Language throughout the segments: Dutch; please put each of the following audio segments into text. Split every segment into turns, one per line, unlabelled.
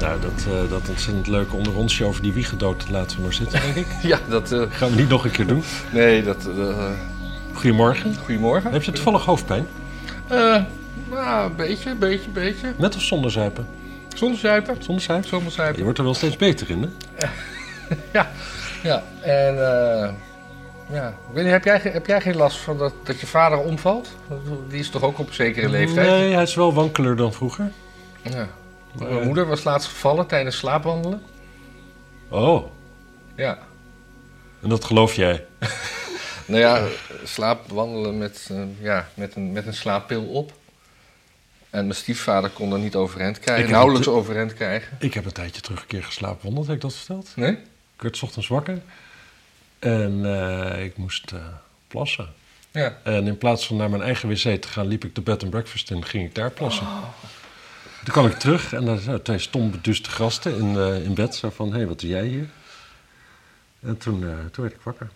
Nou, dat, eh, dat ontzettend leuke onderrondsje over die wiegedood laten we maar zitten, denk ik.
Ja, dat... eh,
Gaan we niet nog een keer doen.
nee, dat... eh,
Goedemorgen.
goedemorgen.
Heb je toevallig hoofdpijn?
Eh, nou, een beetje, een beetje, een beetje.
Met of zonder zuipen?
Zonder zuipen.
Zonder zuipen?
Zonder
Je
zuipen.
wordt er wel steeds beter in, hè?
Ja, ja. En... eh, ja. Ik weet niet, heb, jij, ge- heb jij geen last van dat, dat je vader omvalt? Die is toch ook op een zekere leeftijd?
Nee, hij is wel wankeler dan vroeger.
Ja.
Maar-
Mijn eh, moeder was laatst gevallen tijdens slaapwandelen.
Oh,
Ja.
en dat geloof jij?
Nou ja, slaapwandelen met, eh, ja, met, een, met een slaappil op. En mijn stiefvader kon er niet overeind
Ik
krijgen.
heb
Nauwelijks overeind krijgen.
Ik heb een tijdje terug een keer geslapen, wonderd, heb ik dat verteld?
Nee?
Ik werd 's ochtends wakker en eh, ik moest eh, plassen.
Ja.
En in plaats van naar mijn eigen wc te gaan, liep ik de bed and breakfast in en ging ik daar plassen. Toen kwam ik terug en daar zaten twee stom beduste gasten in, eh, in bed. Zo van, hé, hey, wat doe jij hier? En toen, eh, toen werd ik wakker.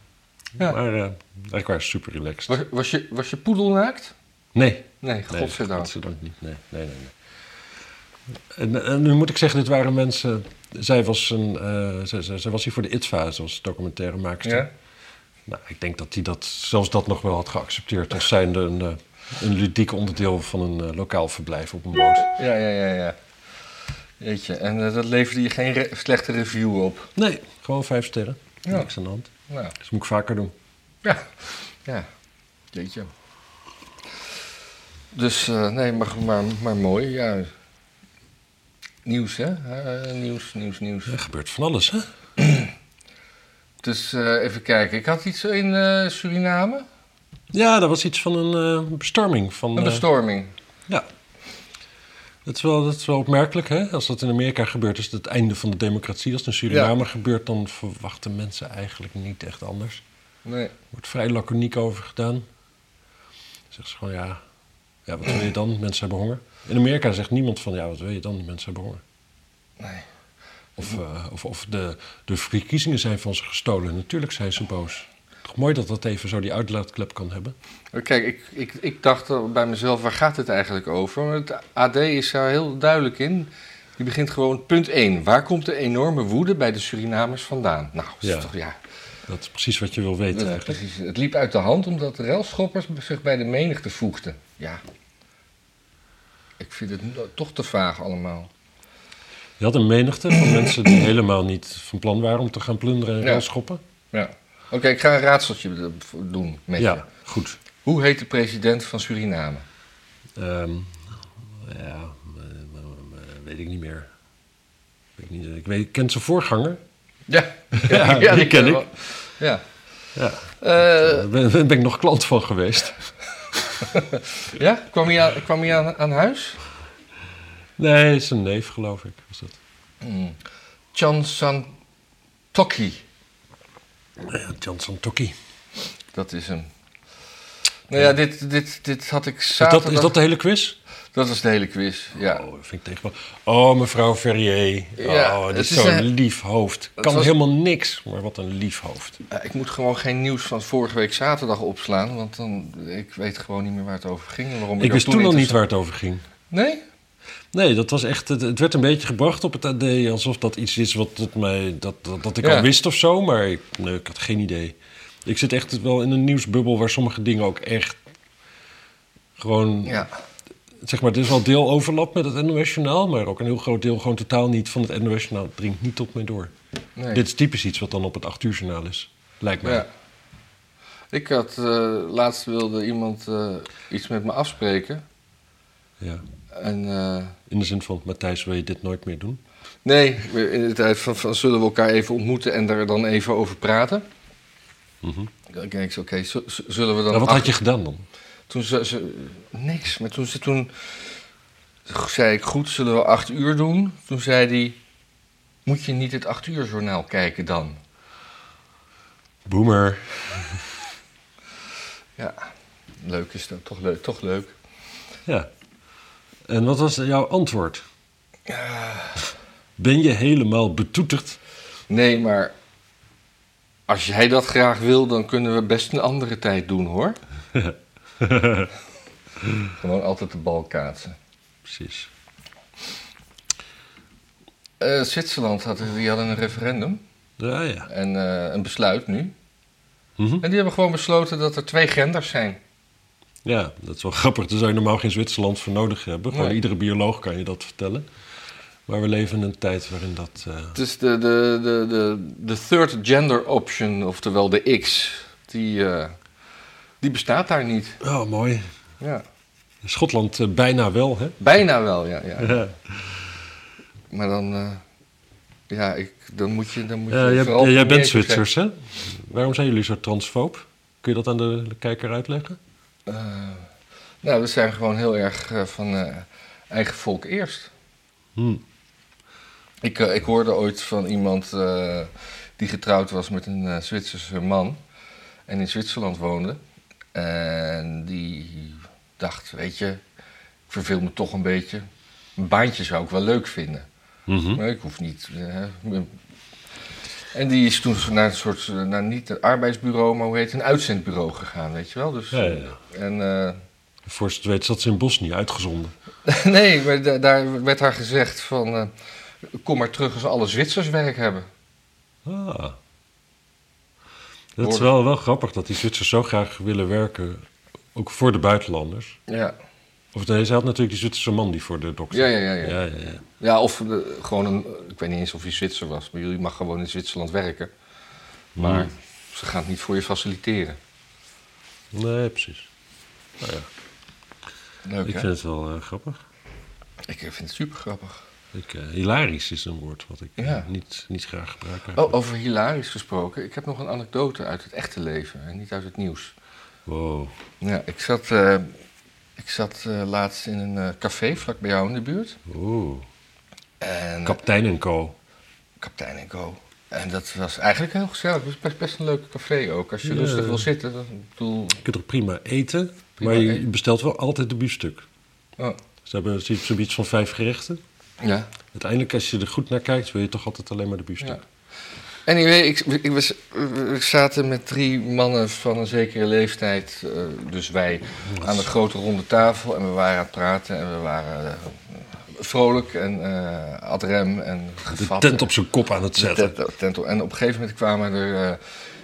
Ja.
Maar eh ik was super relaxed.
Was, was, je, was je poedel naakt?
Nee,
Nee,
nee
godzijdank.
godzijdank niet. Nee, nee, nee. nee. En, en nu moet ik zeggen, dit waren mensen... Zij was, een, eh, zij, zij, zij was hier voor de ITVA, zoals documentairemaakster.
Ja?
Nou, ik denk dat hij dat, zelfs dat nog wel had geaccepteerd als zijnde een, eh, een ludiek onderdeel van een eh, lokaal verblijf op een boot.
Ja, ja, ja, ja. Jeetje, en eh, dat leverde je geen re- slechte review op.
Nee, gewoon vijf sterren.
Ja.
Niks aan de hand.
Nou,
Dus moet ik vaker doen.
ja. Ja. Jeetje. Dus, eh, nee, maar, maar, maar mooi, ja. Nieuws, hè? Eh, nieuws, nieuws, nieuws.
Er gebeurt van alles, hè?
Dus eh, even kijken. Ik had iets in eh, Suriname.
Ja, dat was iets van een eh, bestorming. Van,
Een
eh,
bestorming.
ja. Dat is, wel, dat is wel opmerkelijk, hè? Als dat in Amerika gebeurt, is het het einde van de democratie. Als het in Suriname gebeurt, dan verwachten mensen eigenlijk niet echt anders.
Nee.
Er wordt vrij laconiek over gedaan. Dan Zegt ze gewoon, ja, ja, wat wil je dan? Mensen hebben honger. In Amerika zegt niemand van, ja, wat wil je dan? Die mensen hebben honger.
Nee.
Of, eh, of, of de, de verkiezingen zijn van ze gestolen. Natuurlijk zijn ze boos. Toch mooi dat dat even zo die uitlaatklep kan hebben.
Kijk, ik, ik, ik dacht al bij mezelf, waar gaat het eigenlijk over? Maar het AD is daar heel duidelijk in. Die begint gewoon, punt 1. Waar komt de enorme woede bij de Surinamers vandaan? Nou, dat is
Ja. eh,
toch ja.
Dat is precies wat je wil weten
dat-
eigenlijk.
precies. Het liep uit de hand omdat de relschoppers zich bij de menigte voegden. Ja. Ik vind het no- toch te vaag allemaal.
Je had een menigte van mensen die helemaal niet van plan waren om te gaan plunderen en
Ja.
railschoppen.
Ja. Oké, ik ga een raadseltje eh, doen met je.
Ja, goed.
Hoe heet de president van Suriname?
Ehm, ja, eh, eh, weet ik niet meer. Weet ik, niet, ik, weet, ik ken zijn voorganger.
Ja,
Ja, die ken ik.
wel. Ja.
Ja,
Eh,
daar ben, ben ik nog klant van geweest.
ja? Kwam hij aan, kwam hij aan, aan huis?
Nee, zijn neef geloof ik was dat.
Chan San Toki.
Ja, Johnson Tokki.
Dat is hem. Nou ja, dit, dit, dit had ik
Is
zaterdag...
dat, is dat de hele quiz?
dat was de hele quiz, ja.
Oh, vind ik tegenwoordig. Oh, mevrouw Ferrier.
Ja,
oh, dit
het
is
is
zo'n
een-
lief hoofd. Kan
was-
helemaal niks, maar wat een lief hoofd.
Eh, Ik moet gewoon geen nieuws van vorige week zaterdag opslaan, want dan, ik weet gewoon niet meer waar het over ging. en Waarom
Ik
er
wist toen al niet
interessant-
waar het over ging.
Nee?
Nee, dat was echt. Het, het werd een beetje gebracht op het AD alsof dat iets is wat tot mij, dat, dat, dat ik
Ja.
al wist of zo, maar ik, nee, ik had geen idee. Ik zit echt wel in een nieuwsbubbel waar sommige dingen ook echt gewoon.
Ja.
Zeg maar, er is wel deel overlap met het NOS-journaal, maar ook een heel groot deel gewoon totaal niet van het NOS-journaal. Het dringt niet tot mij door.
Nee.
Dit is typisch iets wat dan op het 8 uur journaal is, lijkt mij.
Ja. Ik had, eh, laatst wilde iemand eh, iets met me afspreken.
Ja.
En, eh,
In de zin van, Matthijs, wil je dit nooit meer doen?
nee, we- in de tijd van, van zullen we elkaar even ontmoeten en daar dan even over praten.
Mhm.
Dan denk ik, zo, oké, zu- zu- zullen we dan...
Nou, wat
acht-
had je gedaan dan?
Toen ze, ze- niks, maar toen, ze, toen zei ik, goed, zullen we acht uur doen? Toen zei hij, moet je niet het acht uur journaal kijken dan?
Boomer.
Ja, leuk is dat, toch leuk, toch leuk.
Ja. En wat was jouw antwoord? Ben je helemaal betoeterd?
Nee, maar als jij dat graag wil, dan kunnen we best een andere tijd doen hoor. Gewoon altijd de bal kaatsen.
Precies.
Eh, Zwitserland had, die hadden een referendum
Ja, ja.
en eh, een besluit nu.
Mhm.
En die hebben gewoon besloten dat er twee genders zijn.
Ja, dat is wel grappig. Daar zou je normaal geen Zwitserland voor nodig hebben. Gewoon
Nee.
iedere bioloog kan je dat vertellen. Maar we leven in een tijd waarin dat... eh,
Het is de, de, de, de, de third gender option, oftewel de X, die, eh, die bestaat daar niet.
Oh, mooi.
Ja.
Schotland eh, bijna wel, hè?
Bijna wel, ja. ja.
Ja.
Maar dan, eh, ja, ik, dan moet je, dan moet je
Eh, jij,
vooral...
jij- jij bent
meer-
Zwitsers, hè? Waarom zijn jullie zo transfoob? Kun je dat aan de, de kijker uitleggen?
Eh, nou, we zijn gewoon heel erg eh, van eh, eigen volk eerst.
Hm.
Ik, eh, ik hoorde ooit van iemand eh, die getrouwd was met een eh, Zwitserse man en in Zwitserland woonde. En die dacht, weet je, ik verveel me toch een beetje. Een baantje zou ik wel leuk vinden.
Mhm.
Maar ik hoef niet. eh, en die is toen naar een soort, eh, naar niet een arbeidsbureau, maar hoe heet het, een uitzendbureau gegaan, weet je wel. Dus,
Ja, ja, ja.
En, eh,
Voor ze het weet zat ze in Bosnië uitgezonden.
nee, maar da- daar werd haar gezegd van, eh, kom maar terug als alle Zwitsers werk hebben.
Ah. Dat is
Hoor.
wel, wel grappig dat die Zwitsers zo graag willen werken, ook voor de buitenlanders.
Ja,
Of nee, ze had natuurlijk die Zwitserse man die voor de dokter.
ja, ja. ja, ja.
ja, ja, ja.
Ja, of eh, gewoon een. Ik weet niet eens of je Zwitser was, maar jullie mag gewoon in Zwitserland werken. Maar
Hmm.
ze gaan het niet voor je faciliteren.
Nee, precies. Nou ja,
Leuk,
ik
hè?
vind het wel eh, grappig.
Ik vind het super grappig.
Ik, eh, hilarisch is een woord wat ik eh,
Ja.
niet, niet graag gebruik maak.
Oh, over hilarisch gesproken. Ik heb nog een anekdote uit het echte leven en niet uit het nieuws.
Wow.
Ja, ik zat, eh, ik zat eh, laatst in een eh, café vlak bij jou in de buurt.
Oeh.
En
Kaptein en co.
kaptein en co. En dat was eigenlijk heel gezellig. Het was best, best een leuk café ook. Als je
Ja.
rustig wil zitten. Dat, ik bedoel,
Je kunt toch prima eten,
Prima
maar je
eten.
bestelt wel altijd de biefstuk.
oh,
Ze hebben ze- zo'n iets van vijf gerechten.
ja.
Uiteindelijk, als je er goed naar kijkt, wil je toch altijd alleen maar de biefstuk.
Anyway, ik, ik, was, we zaten met drie mannen van een zekere leeftijd, eh, dus wij, aan de grote ronde tafel. En we waren aan het praten en we waren eh, vrolijk en eh ad rem en
de
gevat.
tent op zijn kop aan het
De
zetten.
tent- tent op- En op een gegeven moment kwamen er eh,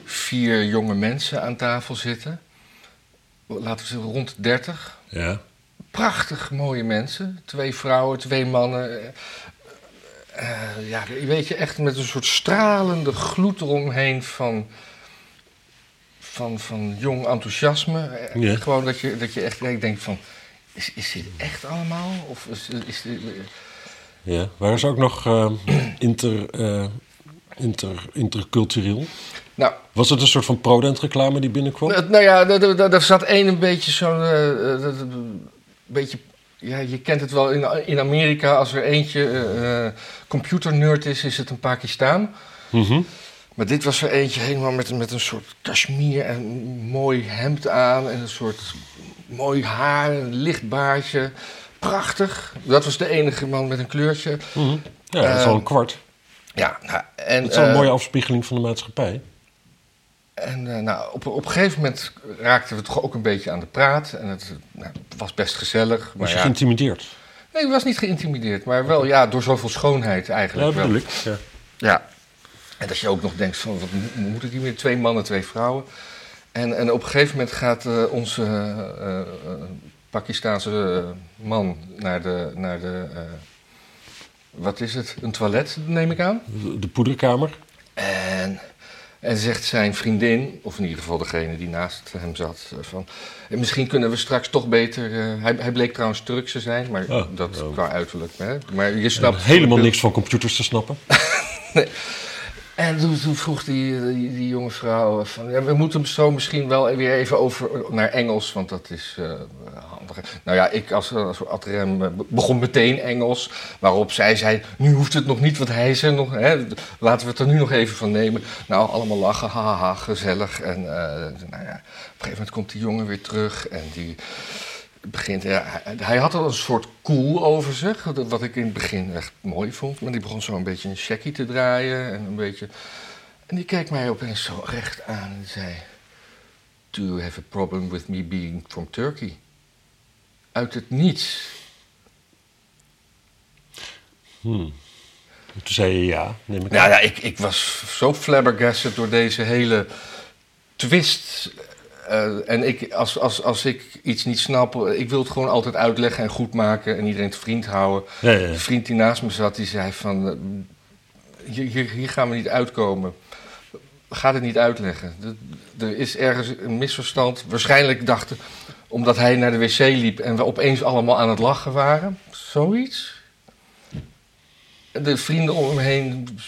vier jonge mensen aan tafel zitten. Laten we zeggen rond de 30
Ja.
prachtig mooie mensen. Twee vrouwen, twee mannen. Eh, eh, ja, weet je, echt met een soort stralende gloed eromheen van, van, van jong enthousiasme. Eh,
Ja.
Gewoon dat je, dat je echt ik denk van, is, is dit echt allemaal? Of is, is dit,
ja. Waren ze ook nog eh, inter, eh, inter, intercultureel?
nou,
Was het een soort van prodent reclame die binnenkwam?
eh, nou ja, daar- daar- daar- daar zat één een beetje zo'n, eh, eh, dat- een beetje... Ja, je kent het wel in, in Amerika, als er eentje eh, eh, computernerd is, is het een Pakistaan.
Mhm.
Maar dit was er eentje helemaal met, met een soort kashmir en een mooi hemd aan en een soort mooi haar, een licht baardje. Prachtig. Dat was de enige man met een kleurtje.
Mhm. Ja, dat is al een kwart.
Ja, nou, en,
Dat is al een
eh,
mooie afspiegeling van de maatschappij.
en eh, nou, op, op een gegeven moment raakten we toch ook een beetje aan de praat. En het eh, nou, was best gezellig.
Was
Maar
je
ja,
geïntimideerd?
nee, ik was niet geïntimideerd, maar wel ja, door zoveel schoonheid
Ja,
eigenlijk. wel.
bedoel ik. Ja.
Ja. En dat je ook nog denkt van, wat mo- moet ik hiermee? Twee mannen, twee vrouwen. En, en op een gegeven moment gaat eh, onze eh, eh, Pakistaanse eh, man naar de, naar de eh, wat is het, een toilet neem ik aan.
De- De poederkamer.
En, en zegt zijn vriendin, of in ieder geval degene die naast hem zat, eh, van... "Eh, Misschien kunnen we straks toch beter... eh," hij, hij bleek trouwens Turks te zijn, maar
Oh,
dat
oh.
qua uiterlijk. Hè? Maar je snapt...
En helemaal niks van computers te snappen.
En toen, toen vroeg die, die, die jonge vrouw van, ja, we moeten hem zo misschien wel weer even over naar Engels, want dat is eh handiger. Nou ja, ik als, als adrem eh, be- begon meteen Engels, waarop zij zei, nu hoeft het nog niet, want hij is er nog, hè, laten we het er nu nog even van nemen. Nou, allemaal lachen, haha, gezellig. En eh, nou ja, op een gegeven moment komt die jongen weer terug en die begint, ja, hij, hij had al een soort cool over zich, wat- wat ik in het begin echt mooi vond. Maar die begon zo een beetje een checkie te draaien en een beetje... En die kijkt mij opeens zo recht aan en zei... Do you have a problem with me being from Turkey? Uit het niets.
Hmm. Toen zei je ja, neem ik
Nou
aan.
ja, ik, ik was zo flabbergasted door deze hele twist. Eh, en ik, als, als, als ik iets niet snap, eh, ik wil het gewoon altijd uitleggen en goed maken en iedereen te vriend houden.
Ja, ja, ja.
De vriend die naast me zat, die zei van, eh, hier, hier, hier gaan we niet uitkomen. Ga het niet uitleggen. Er- Er is ergens een misverstand. Waarschijnlijk dachten, omdat hij naar de wc liep en we opeens allemaal aan het lachen waren. Zoiets. De vrienden om hem heen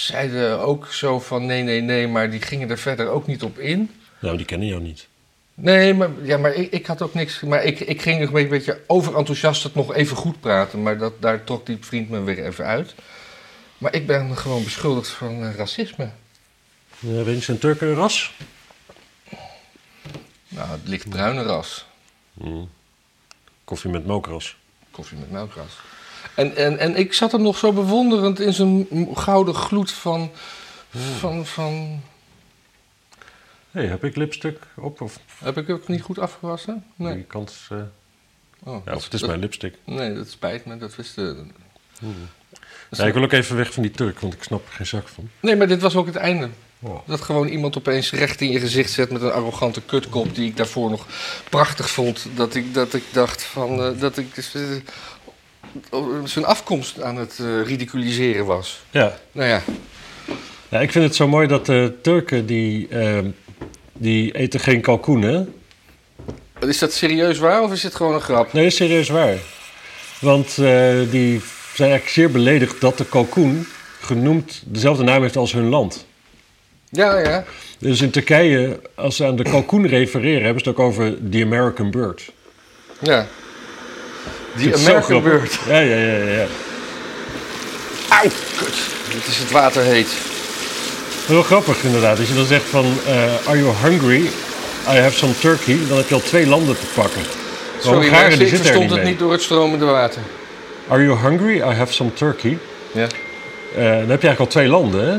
zeiden ook zo van nee, nee, nee, maar die gingen er verder ook niet op in.
Nou, die kennen jou niet.
Nee, maar, ja, maar ik, ik had ook niks. Maar ik, ik ging nog een beetje overenthousiast het nog even goed praten. Maar dat, daar trok die vriend me weer even uit. Maar ik ben gewoon beschuldigd van eh, racisme.
Ja, Eh, weet je, zijn Turken een ras?
Nou, het lichtbruine ras.
Koffie met mokeras.
Koffie met melkras. En, en, en ik zat hem nog zo bewonderend in zijn m- gouden gloed van. van, van
Hé, hey, heb ik lipstuk op? Of
heb ik het niet goed afgewassen?
die
Nee.
kant? eh,
Oh,
ja,
dat-
of het is
dat-
mijn lipstick.
Nee, dat spijt me, dat wist eh, de.
Ja, ik wil ook even weg van die Turk, want ik snap er geen zak van.
Nee, maar dit was ook het einde.
Oh.
Dat gewoon iemand opeens recht in je gezicht zet met een arrogante kutkop die ik daarvoor nog prachtig vond. Dat ik, dat ik dacht van eh, dat ik dus, eh, oh, zijn afkomst aan het eh, ridiculiseren was.
Ja.
Nou ja,
ja, ik vind het zo mooi dat de Turken, die, ehm, die eten geen kalkoen, hè?
is dat serieus waar of is dit gewoon een grap?
Nee, serieus waar. Want eh, die zijn eigenlijk zeer beledigd dat de kalkoen genoemd dezelfde naam heeft als hun land.
Ja, ja.
Dus in Turkije, als ze aan de kalkoen refereren, hebben ze het ook over the American bird.
ja. Die
Ik vind het zo
American
grappig.
Bird.
Ja, ja, ja, ja. ja.
Auw, kut. Dit is het water heet.
Heel grappig inderdaad. Als je dan zegt van, eh, are you hungry? I have some turkey. Dan heb je al twee landen te pakken. Maar
Sorry
Hongaren,
mensen,
die
ik
zitten er
verstond
niet
het
mee.
niet door het stromende water.
Are you hungry? I have some turkey.
Ja.
Eh, dan heb je eigenlijk al twee landen, hè?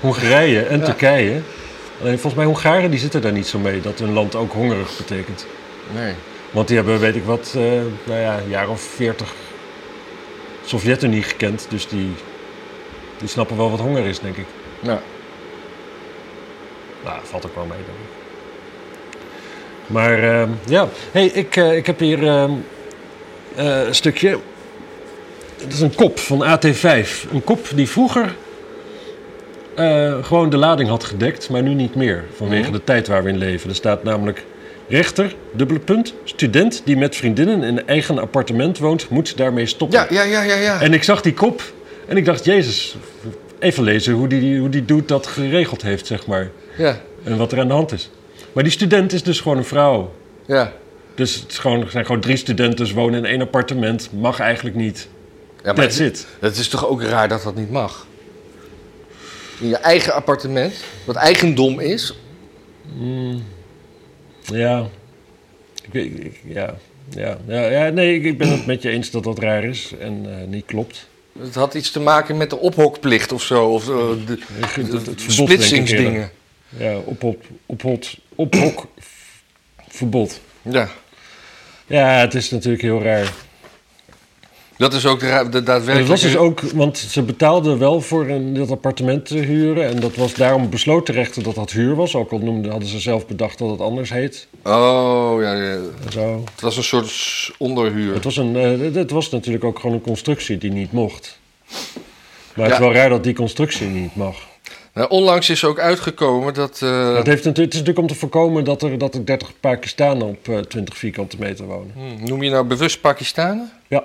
Hongarije en
Ja.
Turkije. Alleen volgens mij Hongaren die zitten daar niet zo mee dat hun land ook hongerig betekent.
Nee.
Want die hebben, weet ik wat, eh, nou ja, een jaar of veertig Sovjet-Unie gekend. Dus die, die snappen wel wat honger is, denk ik.
Nou,
Nou, valt ook wel mee, denk ik. Maar ehm, ja, hey, ik, eh, ik heb hier ehm, eh, een stukje. Het is een kop van AT5. Een kop die vroeger eh, gewoon de lading had gedekt, maar nu niet meer. Vanwege
Mhm.
de tijd waar we in leven. Er staat namelijk rechter, dubbele punt, student die met vriendinnen in een eigen appartement woont, moet daarmee stoppen.
ja, ja, ja, ja. ja.
En ik zag die kop en ik dacht, Jezus, even lezen hoe die, hoe die dude dat geregeld heeft, zeg maar.
ja.
En wat er aan de hand is. Maar die student is dus gewoon een vrouw.
ja.
Dus het is gewoon, er zijn gewoon drie studenten, dus wonen in één appartement. Mag eigenlijk niet.
Ja, maar
That's it.
Dat is toch ook raar dat dat niet mag? In je eigen appartement, wat eigendom is.
Mm. Ja. Ik, weet- ik- ja. Ja, ja, ja, nee, ik- ik ben het met je eens dat dat raar is en eh, niet klopt.
Het had iets te maken met de ophokplicht of zo. Of eh, de,
Het-
de-
het- het
de
verbod, denk
splitsingsdingen.
Ja, ophok, ophok, ophok verbod.
Ja.
Ja, het is natuurlijk heel raar.
Dat is ook de, ra- de
En het
daadwerkelijke...
was dus ook,
eh,
want ze betaalden wel voor een, dat appartement te huren. En dat was daarom besloot de rechter dat dat huur was. Ook al noemden, hadden ze zelf bedacht dat het anders heet.
Oh, ja, ja.
En zo.
Het was een soort s- onderhuur.
Het was, een, eh, het- het was natuurlijk ook gewoon een constructie die niet mocht. Maar het
Ja.
is wel raar dat die constructie niet mag.
Nou, onlangs is ook uitgekomen dat... eh,
Dat heeft, natuurlijk- het is natuurlijk om te voorkomen dat er, dat er 30 Pakistanen op eh 20 vierkante meter wonen.
hm, noem je nou bewust Pakistanen?
Ja,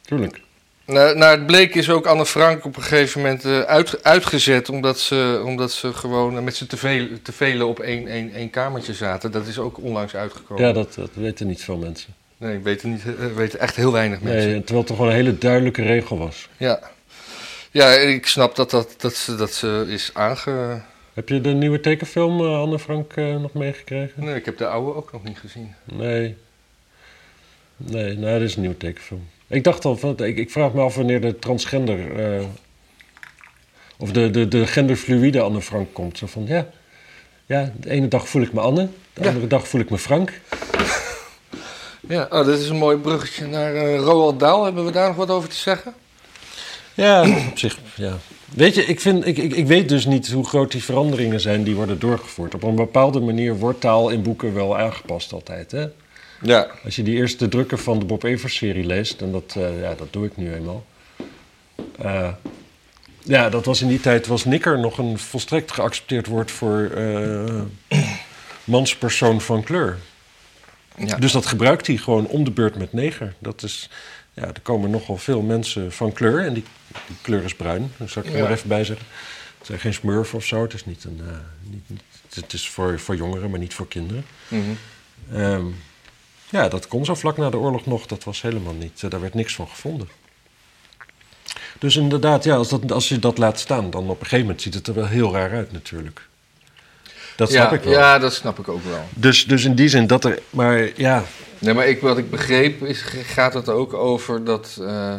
tuurlijk.
Nou, nou, het bleek is ook Anne Frank op een gegeven moment eh, uit, uitgezet. Omdat ze, omdat ze gewoon eh, met z'n te, veel, te velen op één, één, één kamertje zaten. Dat is ook onlangs uitgekomen.
Ja, dat, dat weten niet veel mensen.
Nee, ik weet, het niet, eh, weten echt heel weinig mensen.
Nee, terwijl het toch gewoon een hele duidelijke regel was.
Ja. ja, ik snap dat, dat, dat, ze, dat ze is aange...
Heb je de nieuwe tekenfilm eh, Anne Frank eh, nog meegekregen?
Nee, ik heb de oude ook nog niet gezien.
Nee. Nee, nou, dat is een nieuwe tekenfilm. Ik dacht al, van, ik, ik vraag me af wanneer de transgender... eh, of de, de, de genderfluïde Anne Frank komt. Zo van, ja, ja, de ene dag voel ik me Anne, de
Ja.
andere dag voel ik me Frank.
Ja, oh, dit is een mooi bruggetje naar eh Roald Dahl. Hebben we daar nog wat over te zeggen?
Ja, op zich, ja. Weet je, ik, vind, ik, ik, ik weet dus niet hoe groot die veranderingen zijn die worden doorgevoerd. Op een bepaalde manier wordt taal in boeken wel aangepast altijd, hè?
Ja.
Als je die eerste drukken van de Bob Evers-serie leest, en dat, eh, ja, dat doe ik nu eenmaal. Eh, ja, dat was in die tijd, was nikker nog een volstrekt geaccepteerd woord voor eh, manspersoon van kleur.
ja.
Dus dat gebruikt hij gewoon om de beurt met neger. Dat is, ja, er komen nogal veel mensen van kleur en die, die kleur is bruin. Dat zal ik er
Ja.
maar even bij zeggen. Het zijn geen smurf of zo, het is niet een... eh, niet, niet- het is voor, voor jongeren, maar niet voor kinderen.
Mhm.
Ehm, ja, dat kon zo vlak na de oorlog nog. Dat was helemaal niet. eh, daar werd niks van gevonden. Dus inderdaad, ja, als, dat, als je dat laat staan, dan op een gegeven moment ziet het er wel heel raar uit natuurlijk. Dat snap
ja,
ik wel.
Ja, dat snap ik ook wel.
Dus, dus in die zin dat er. Maar ja,
Nee, maar ik, wat ik begreep is, gaat het ook over dat... eh,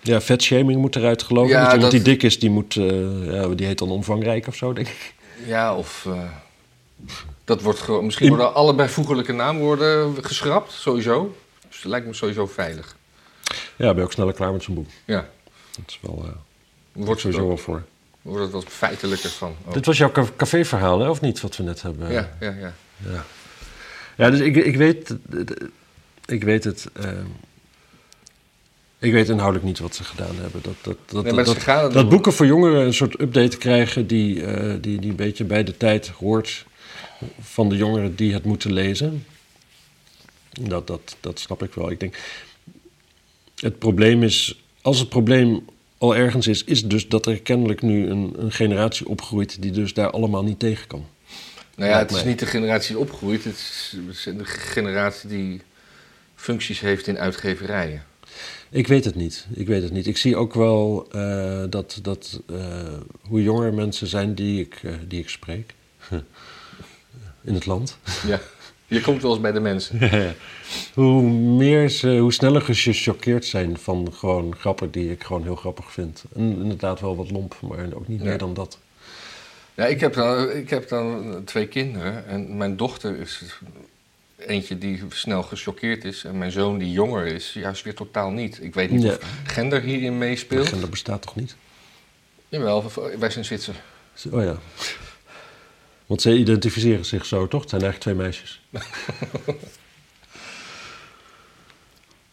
ja vetshaming moet eruit gelopen.
Ja,
want iemand
dat-
die dik is, die, moet, eh, ja, die heet dan omvangrijk of zo, denk ik.
ja, of... eh, dat wordt gewoon... Misschien
In-
worden alle bijvoeglijke naamwoorden geschrapt, sowieso. Dus dat lijkt me sowieso veilig.
Ja, ben je ook sneller klaar met zo'n boek.
Ja.
Dat is wel. eh
Wordt
sowieso
het,
wel voor.
ook- wordt het wat feitelijker van. ook.
Dit was jouw ca- caféverhaal, hè, of niet? Wat we net hebben. eh,
Ja, ja, Nou ja.
Ja, ja dus ik, ik weet... Ik weet het... ehm, ik weet inhoudelijk niet wat ze gedaan hebben. Dat, dat, dat,
Nee, maar
dat,
ze gaan het
dat
doen.
boeken voor jongeren een soort update krijgen... Die, eh, die, die een beetje bij de tijd hoort van de jongeren die het moeten lezen. Dat, dat, dat snap ik wel. Ik denk, het probleem is... Als het probleem al ergens is, is dus dat er kennelijk nu een, een generatie opgroeit... die dus daar allemaal niet tegen kan.
Nou ja,
Lijkt
het is
mij.
niet de generatie die opgroeit. Het is het is de generatie die functies heeft in uitgeverijen.
Ik weet het niet. Ik weet het niet. Ik zie ook wel eh, dat, dat eh, hoe jonger mensen zijn die ik, eh, die ik spreek. In het land.
Ja. Je komt wel eens bij de mensen.
hoe meer ze, hoe sneller ze gechoqueerd zijn van gewoon grappen die ik gewoon heel grappig vind. En inderdaad wel wat lomp, maar ook niet
Ja.
meer dan dat.
Ja, ik, heb dan, ik heb dan twee kinderen. En mijn dochter is eentje die snel gechoqueerd is. En mijn zoon die jonger is, juist weer totaal niet. Ik weet niet
Ja.
of gender hierin meespeelt.
En dat bestaat toch niet?
Jawel, wij zijn Zwitser.
Oh ja. Want zij identificeren zich zo, toch? Het zijn eigenlijk twee meisjes.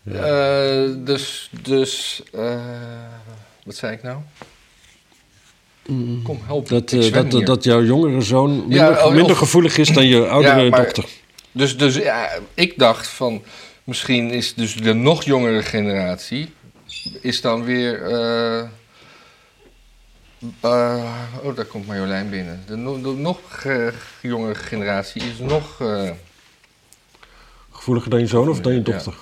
Ja.
Eh, dus, dus eh, wat zei ik nou? Kom, help.
Dat,
ik
eh,
zwem
dat,
hier.
dat jouw jongere zoon minder,
oh,
minder
of-
gevoelig is dan je oudere
Ja, maar-
dochter.
Dus, dus ja, ik dacht van, misschien is dus de nog jongere generatie, is dan weer... eh, eh, oh, daar komt Marjolein binnen. De, no- de nog ge- jongere generatie is nog
Dus
eh,
Gevoeliger dan je zoon of dan je
Ja.
dochter?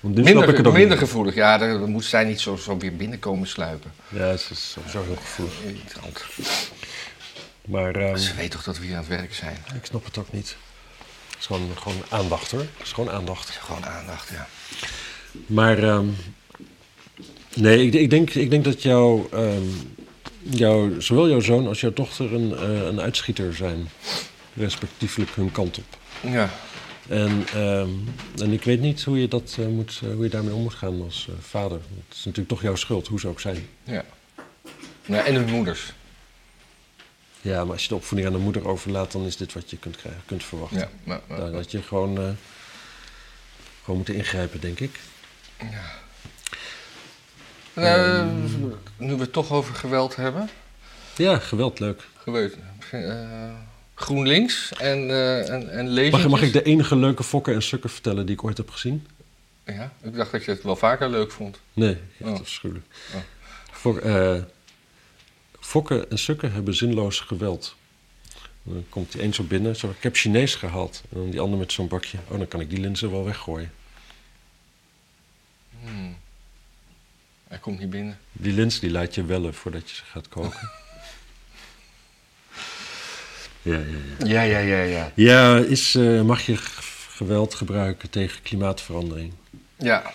Want nu snap ik het
minder,
ook
minder
niet.
gevoelig. Ja, daar moet zij niet zo, zo weer binnenkomen sluipen.
Ja, ze is sowieso heel gevoelig.
Irritant.
Maar ehm,
Ze weet toch dat we hier aan het werk zijn.
ik snap het ook niet. Het is gewoon, gewoon aandacht hoor. Het is gewoon aandacht.
Gewoon aandacht, ja.
Maar ehm, nee, ik, ik, denk, ik denk dat jouw, ehm, jouw, zowel jouw zoon als jouw dochter een, eh, een uitschieter zijn. Respectievelijk hun kant op.
Ja.
En, ehm, en ik weet niet hoe je, dat, eh, moet, eh, hoe je daarmee om moet gaan als eh, vader. Het is natuurlijk toch jouw schuld, hoe ze ook zijn.
Ja. ja en hun moeders.
Ja, maar als je de opvoeding aan de moeder overlaat, dan is dit wat je kunt, krijgen, kunt verwachten.
Ja, maar, maar-
Nou, dat je gewoon, eh, gewoon moet ingrijpen, denk ik.
Nou, nu we het toch over geweld hebben.
Ja, geweld, leuk.
Gebeurt. eh, GroenLinks en, eh en, en lezingen.
Mag, mag ik de enige leuke fokken en sukken vertellen die ik ooit heb gezien?
Ja, ik dacht dat je het wel vaker leuk vond.
Nee, echt
Oh.
afschuwelijk.
Oh.
Fok- eh, fokken en sukken hebben zinloos geweld. Dan komt die een zo binnen, zo, ik heb Chinees gehaald. En dan die ander met zo'n bakje. Oh, dan kan ik die linzen wel weggooien.
Hmm. Hij komt niet binnen.
Die lins die laat je wellen voordat je ze gaat koken. ja, ja, ja.
Ja, ja, ja, ja.
Ja, is, eh, mag je g- geweld gebruiken tegen klimaatverandering?
Ja,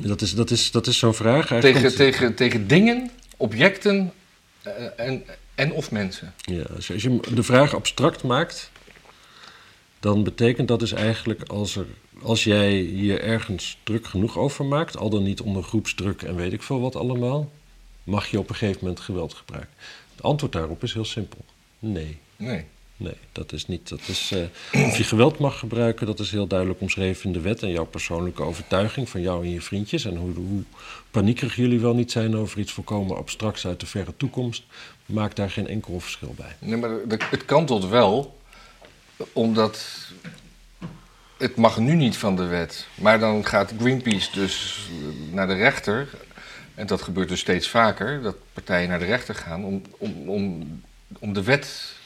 Dat is, dat is, dat is zo'n vraag. Hij
tegen,
komt-
tegen, tegen dingen, objecten eh, en, en of mensen.
Ja, als, je, als je de vraag abstract maakt, dan betekent dat dus eigenlijk als, er, als jij je ergens druk genoeg over maakt, al dan niet onder groepsdruk en weet ik veel wat allemaal, Mag je op een gegeven moment geweld gebruiken? Het antwoord daarop is heel simpel. Nee.
Nee.
Nee, dat is niet. Dat is, eh, of je geweld mag gebruiken, dat is heel duidelijk omschreven in de wet. En jouw persoonlijke overtuiging van jou en je vriendjes. En hoe, hoe paniekerig jullie wel niet zijn over iets volkomen abstracts uit de verre toekomst. Maakt daar geen enkel verschil bij.
Nee, maar de- het kantelt wel, omdat het mag nu niet van de wet. Maar dan gaat Greenpeace dus eh, naar de rechter. En dat gebeurt dus steeds vaker, dat partijen naar de rechter gaan om, om, om, om de wet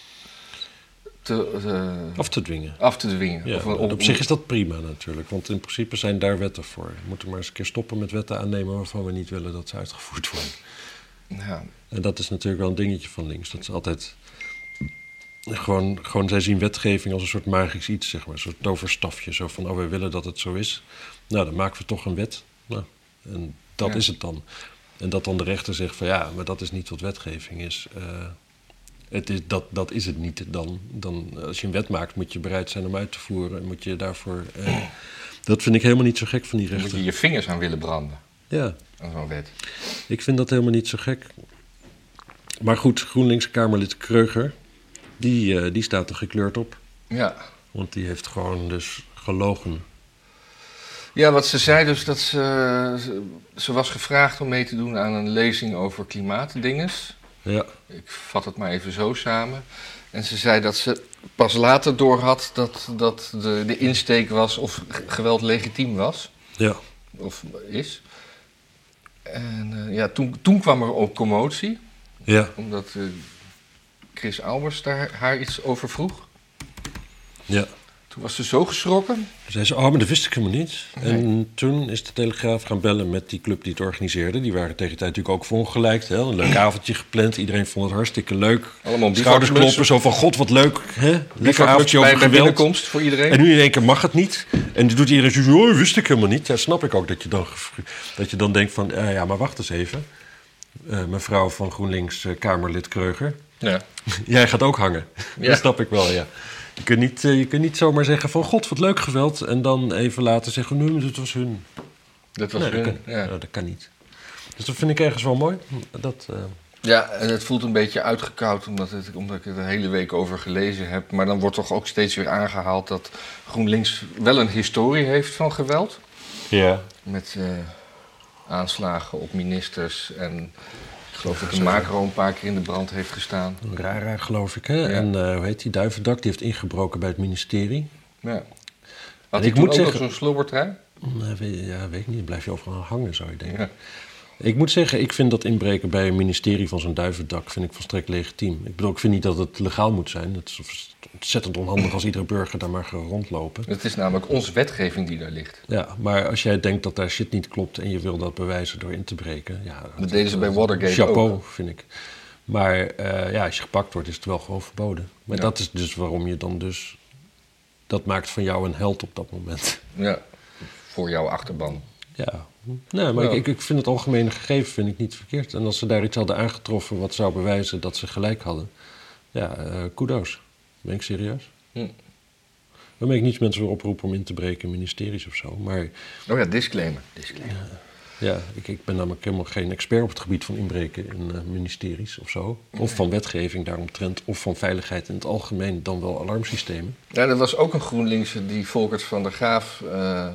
te, eh,
Af te dwingen.
af te dwingen.
Ja,
Of om-
en op zich is dat prima natuurlijk, want in principe zijn daar wetten voor. We moeten maar eens een keer stoppen met wetten aannemen waarvan we niet willen dat ze uitgevoerd worden.
Ja,
En dat is natuurlijk wel een dingetje van links. Dat is altijd. Gewoon, gewoon zij zien wetgeving als een soort magisch iets, zeg maar. Een soort toverstafje. Zo van, oh, wij willen dat het zo is. Nou, dan maken we toch een wet. Nou, en dat
Ja.
is het dan. En dat dan de rechter zegt van, ja, maar dat is niet wat wetgeving is. Eh, het is dat, dat is het niet dan. dan. Als je een wet maakt, moet je bereid zijn om uit te voeren. En moet je daarvoor... eh, dat vind ik helemaal niet zo gek van die
dan moet
rechter.
je je vingers aan willen branden,
Ja,
aan zo'n wet.
ik vind dat helemaal niet zo gek. Maar goed, GroenLinks-Kamerlid Kreuger, die, eh, die staat er gekleurd op.
Ja.
Want die heeft gewoon dus gelogen.
Ja, wat ze zei dus dat ze, ze, ze was gevraagd om mee te doen aan een lezing over klimaatdinges.
Ja,
Ik vat het maar even zo samen. En ze zei dat ze pas later doorhad dat, dat de, de insteek was of g- geweld legitiem was.
ja.
Of is. En eh, ja, toen, toen kwam er ook commotie.
Ja,
Omdat eh, Chris Albers daar haar iets over vroeg.
ja.
Toen was ze zo geschrokken.
Toen zei ze, oh, maar dat wist ik helemaal niet.
Nee.
En toen is de Telegraaf gaan bellen met die club die het organiseerde. Die waren tegen de tijd natuurlijk ook verongelijkt. Hè? Een leuk avondje gepland. Iedereen vond het hartstikke leuk.
Allemaal
Schouders kloppen,
bivakmutsen
zo van, god, wat leuk. Hè? Lekker avondje
bivakmutsen bij,
over
bij
geweld.
binnenkomst voor iedereen.
En nu in één keer mag het niet. En dan doet iedereen zo, oh, wist ik helemaal niet. Ja, snap ik ook dat je dan, gefru- dat je dan denkt van, eh, ja, maar wacht eens even. Eh, mevrouw van GroenLinks, eh, Kamerlid Kreuger.
Ja.
Jij gaat ook hangen.
Ja.
Dat snap ik wel, ja. Je kunt, niet, eh, je kunt niet zomaar zeggen van, god, wat leuk geweld. En dan even later zeggen, nu, dat was hun.
Dat was
Nee, dat,
hun,
kan,
ja.
nou, dat kan niet. Dus dat vind ik ergens wel mooi. Dat, eh,
Ja, en het voelt een beetje uitgekoud omdat, het, omdat ik er de hele week over gelezen heb. Maar dan wordt toch ook steeds weer aangehaald dat GroenLinks wel een historie heeft van geweld.
ja.
Met eh, aanslagen op ministers en ik geloof dat de macro een paar keer in de brand heeft gestaan.
Rara, geloof ik, hè.
Ja.
En eh, hoe heet die, Duivendak, die heeft ingebroken bij het ministerie.
Ja.
En
Had hij
ik
toen
moet
ook nog
zeggen-
zo'n slobbertrui?
Nee, Mm, eh, weet, ja, weet ik niet. Dan blijf je overal aan hangen, zou je denken.
Ja.
Ik moet zeggen, ik vind dat inbreken bij een ministerie van zo'n duivendak vind ik volstrekt legitiem. Ik bedoel, ik vind niet dat het legaal moet zijn. Het is ontzettend onhandig als iedere burger daar maar gaat rondlopen.
Het is namelijk onze wetgeving die daar ligt.
Ja, maar als jij denkt dat daar shit niet klopt en je wil dat bewijzen door in te breken... Ja,
Dat deden ze bij Watergate
chapeau,
ook.
vind ik. Maar eh, ja, als je gepakt wordt, is het wel gewoon verboden. Maar
Ja.
dat is dus waarom je dan dus... Dat maakt van jou een held op dat moment.
Ja, voor jouw achterban.
Ja, nee, maar
Ja.
Ik, ik, ik vind het algemene gegeven vind ik niet verkeerd. En als ze daar iets hadden aangetroffen wat zou bewijzen dat ze gelijk hadden, ja, eh kudos. Ben ik serieus?
Hm.
Dan ben ik niet mensen weer oproepen om in te breken in ministeries of zo. Maar
Oh ja, disclaimer. disclaimer.
ja, ik, ik ben namelijk helemaal geen expert op het gebied van inbreken in eh, ministeries of zo. Of van wetgeving daaromtrent, of van veiligheid in het algemeen, dan wel alarmsystemen.
Ja, er was ook een GroenLinkse die Volkert van der Graaf eh,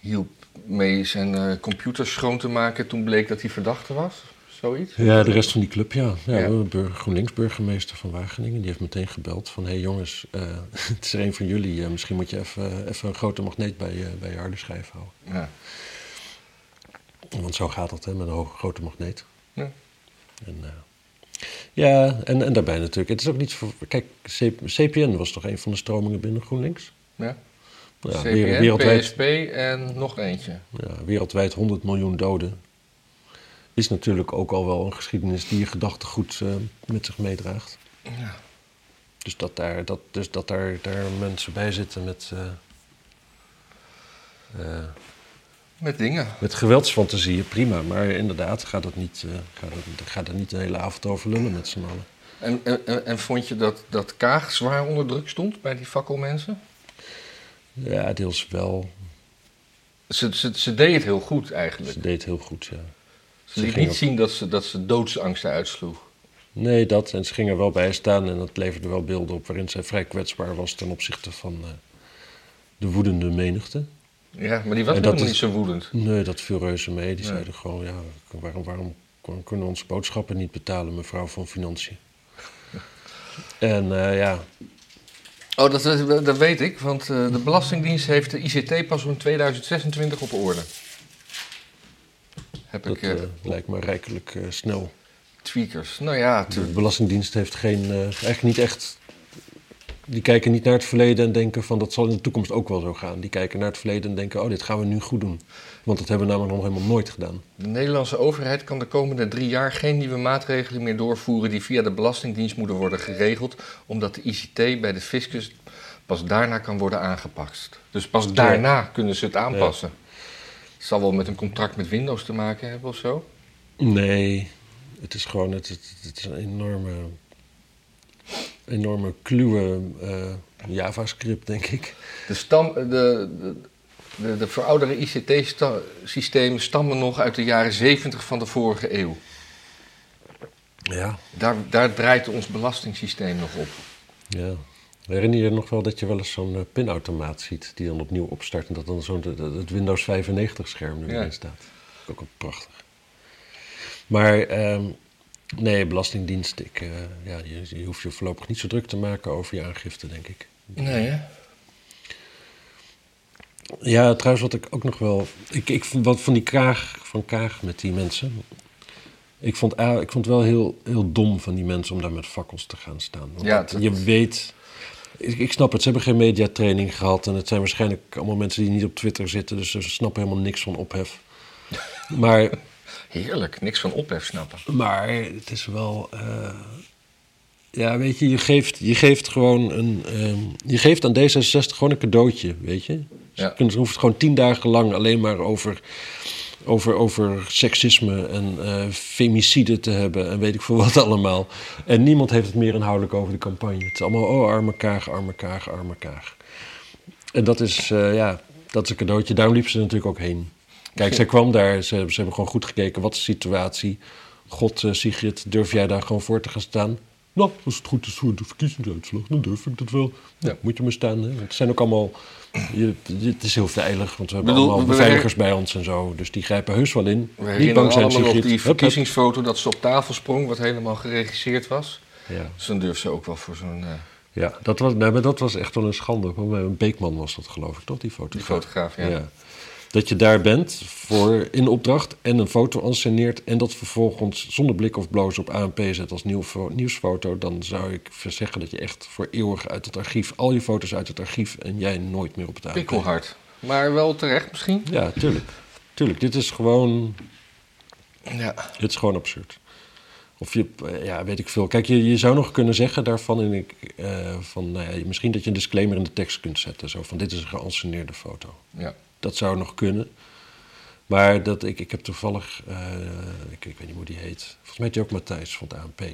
hielp mee zijn eh, computer schoon te maken toen bleek dat hij verdachte was. Zoiets.
Ja, de rest van die club, ja. ja,
Ja.
de bur- GroenLinks-burgemeester van Wageningen, die heeft meteen gebeld van... hé hey jongens, eh, het is er een van jullie, eh, misschien moet je even, even een grote magneet bij, je- bij je harde schijf houden.
Ja.
Want zo gaat dat, hè, met een hoge, grote magneet.
Ja.
En, eh, ja, en, en daarbij natuurlijk. Het is ook niet... Voor, kijk, C- CPN was toch een van de stromingen binnen GroenLinks?
Ja.
Ja,
CPN,
wereld- wereldwijd,
PSP en nog eentje.
ja, wereldwijd 100 miljoen doden. Is natuurlijk ook al wel een geschiedenis die je gedachtegoed eh, met zich meedraagt.
Ja.
Dus dat daar, dat, dus dat daar, daar mensen bij zitten met, eh eh,
Met dingen.
met geweldsfantasieën, prima. Maar inderdaad, ga, dat niet, eh, ga, dat, ga daar niet de hele avond over lullen met z'n allen.
En, en, en- en vond je dat, dat Kaag zwaar onder druk stond bij die fakkelmensen?
Ja, deels wel.
Ze, ze, ze deed het heel goed eigenlijk.
Ze deed heel goed, ja.
Ze- Ze liet
ging
niet zien dat ze, dat ze doodsangsten uitsloeg.
Nee, dat. En ze ging er wel bij staan en dat leverde wel beelden op waarin zij vrij kwetsbaar was ten opzichte van eh, de woedende menigte.
Ja, maar die was
En dat
helemaal
is-
niet zo woedend.
Nee, dat viel reuze mee. Die
Nee.
zeiden gewoon, ja, waarom, waarom kon- kunnen we onze boodschappen niet betalen, mevrouw van Financiën? En eh, ja,
Oh, dat, dat, dat weet ik, want eh, de Belastingdienst heeft de ICT pas in 2026 op orde. Heb
dat
ik eh
eh, lijkt me rijkelijk eh, snel.
tweakers. Nou ja,
De
tuurlijk.
Belastingdienst heeft geen, eh, eigenlijk niet echt... Die kijken niet naar het verleden en denken van dat zal in de toekomst ook wel zo gaan. Die kijken naar het verleden en denken, oh, dit gaan we nu goed doen. Want dat hebben we namelijk nog helemaal nooit gedaan.
De Nederlandse overheid kan de komende drie jaar geen nieuwe maatregelen meer doorvoeren die via de Belastingdienst moeten worden geregeld, omdat de ICT bij de fiscus pas daarna kan worden aangepakt. Dus pas daarna kunnen ze het aanpassen. Het zal wel met een contract met Windows te maken hebben of zo.
Nee, het is gewoon het, het, het is een enorme, enorme kluwe eh, JavaScript, denk ik.
De, stam, eh, de, de, de, de verouderde ICT-systemen stammen nog uit de jaren 70 van de vorige eeuw.
Ja.
Daar, daar draait ons belastingssysteem nog op.
ja. Herinner je je nog wel dat je wel eens zo'n eh, pinautomaat ziet die dan opnieuw opstart en dat dan zo'n dat- dat- het Windows 95 scherm er weer
Ja.
in staat? Ook al prachtig. Maar ehm, nee, Belastingdienst, ik, eh, ja, je, je hoeft je voorlopig niet zo druk te maken over je aangifte, denk ik.
Nee, hè?
Ja, trouwens, wat ik ook nog wel. Ik, ik vond wat van die kraag van Kaag met die mensen. Ik vond, A, ik vond het wel heel, heel dom van die mensen om daar met fakkels te gaan staan. Want
Ja,
dat-
dat-
je weet. Ik, ik snap het, ze hebben geen mediatraining gehad. En het zijn waarschijnlijk allemaal mensen die niet op Twitter zitten. Dus ze snappen helemaal niks van ophef. Maar,
Heerlijk, niks van ophef snappen.
maar het is wel. eh, ja, weet je, je geeft, je geeft gewoon een. ehm, je geeft aan D66 gewoon een cadeautje, weet je?
Ja.
Ze kunnen- ze hoeven het gewoon tien dagen lang alleen maar over, over, over seksisme en eh, femicide te hebben en weet ik veel wat allemaal. En niemand heeft het meer inhoudelijk over de campagne. Het is allemaal, oh, arme kaag, arme kaag, arme kaag. En dat is, eh, ja, dat is een cadeautje. Daarom liep ze natuurlijk ook heen. Kijk, zij kwam daar, ze, ze hebben gewoon goed gekeken, wat is de situatie? God, eh, Sigrid, durf jij daar gewoon voor te gaan staan? Nou, als het goed is voor de verkiezingsuitslag, dan durf ik dat wel. Nou,
Ja.
Moet je maar staan, hè? Want het zijn ook allemaal... je- je- het is heel veilig, want we hebben
Bedoel,
allemaal
we- we-
beveiligers bij ons en zo. Dus die grijpen heus wel in.
We
Niet
herinneren
bang zijn,
allemaal nog
Sigrid.
die
Hup, hup.
verkiezingsfoto dat ze op tafel sprong, wat helemaal geregisseerd was.
Ja.
Dus dan durft ze ook wel voor zo'n eh,
Ja, dat was, nee, maar dat was echt wel een schande. Want bij een Beekman was dat geloof ik, toch? Die fotograaf.
die fotograaf. Ja.
Ja. Dat je daar bent voor in opdracht en een foto anceneert... en dat vervolgens zonder blik of bloos op ANP zet als nieuw fo- nieuwsfoto... dan zou ik zeggen dat je echt voor eeuwig uit het archief... al je foto's uit het archief en jij nooit meer op het ANP.
Pikkelhard. Maar wel terecht misschien.
Ja, tuurlijk. Tuurlijk, dit is gewoon,
Ja.
dit is gewoon absurd. Of je, eh, ja, weet ik veel. Kijk, je, je zou nog kunnen zeggen daarvan... En ik, eh, van, nou ja, misschien dat je een disclaimer in de tekst kunt zetten. Zo van, dit is een geanceneerde foto.
ja.
Dat zou nog kunnen. Maar dat, ik, ik heb toevallig, eh, ik, ik weet niet hoe die heet. Volgens mij heet die ook Matthijs van het ANP. Eh,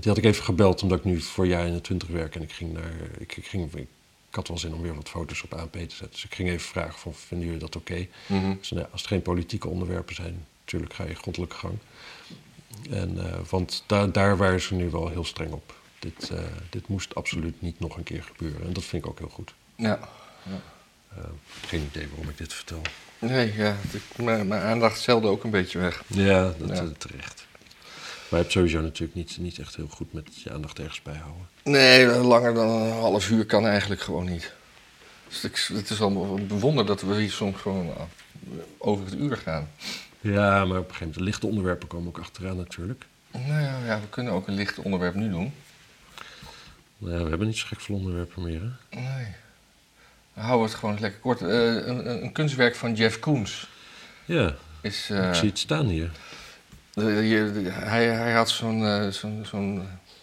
die had ik even gebeld omdat ik nu voor jaar in de twintig werk. En ik ging naar, ik, ik, ging, ik had wel zin om weer wat foto's op ANP te zetten. Dus ik ging even vragen van, vinden jullie dat oké?
Mhm.
Dus, nou ja, als er geen politieke onderwerpen zijn, natuurlijk ga je grondelijk gang. En, eh, want da- daar waren ze nu wel heel streng op. Dit, eh, dit moest absoluut niet nog een keer gebeuren. En dat vind ik ook heel goed.
ja.
Geen idee waarom ik dit vertel.
Nee, ja. ik- mijn, mijn aandacht zelde ook een beetje weg.
Ja, dat
Ja.
eh, terecht. Maar je hebt sowieso natuurlijk niet, niet echt heel goed met je aandacht ergens bijhouden.
Nee, langer dan een half uur kan eigenlijk gewoon niet. Dus ik, het is allemaal een wonder dat we hier soms gewoon eh, over het uur gaan.
Ja, maar op een gegeven moment, de lichte onderwerpen komen ook achteraan natuurlijk.
Nou ja, ja, we kunnen ook een licht onderwerp nu doen.
Nou ja, we hebben niet zo gek veel onderwerpen meer, hè?
Nee. Dan houden we het gewoon lekker kort. Eh, een, een- een kunstwerk van Jeff Koons
Ja,
is... eh,
ik zie het staan hier.
de- je- de- hij, hij had zo'n... eh, zo'n, zo'n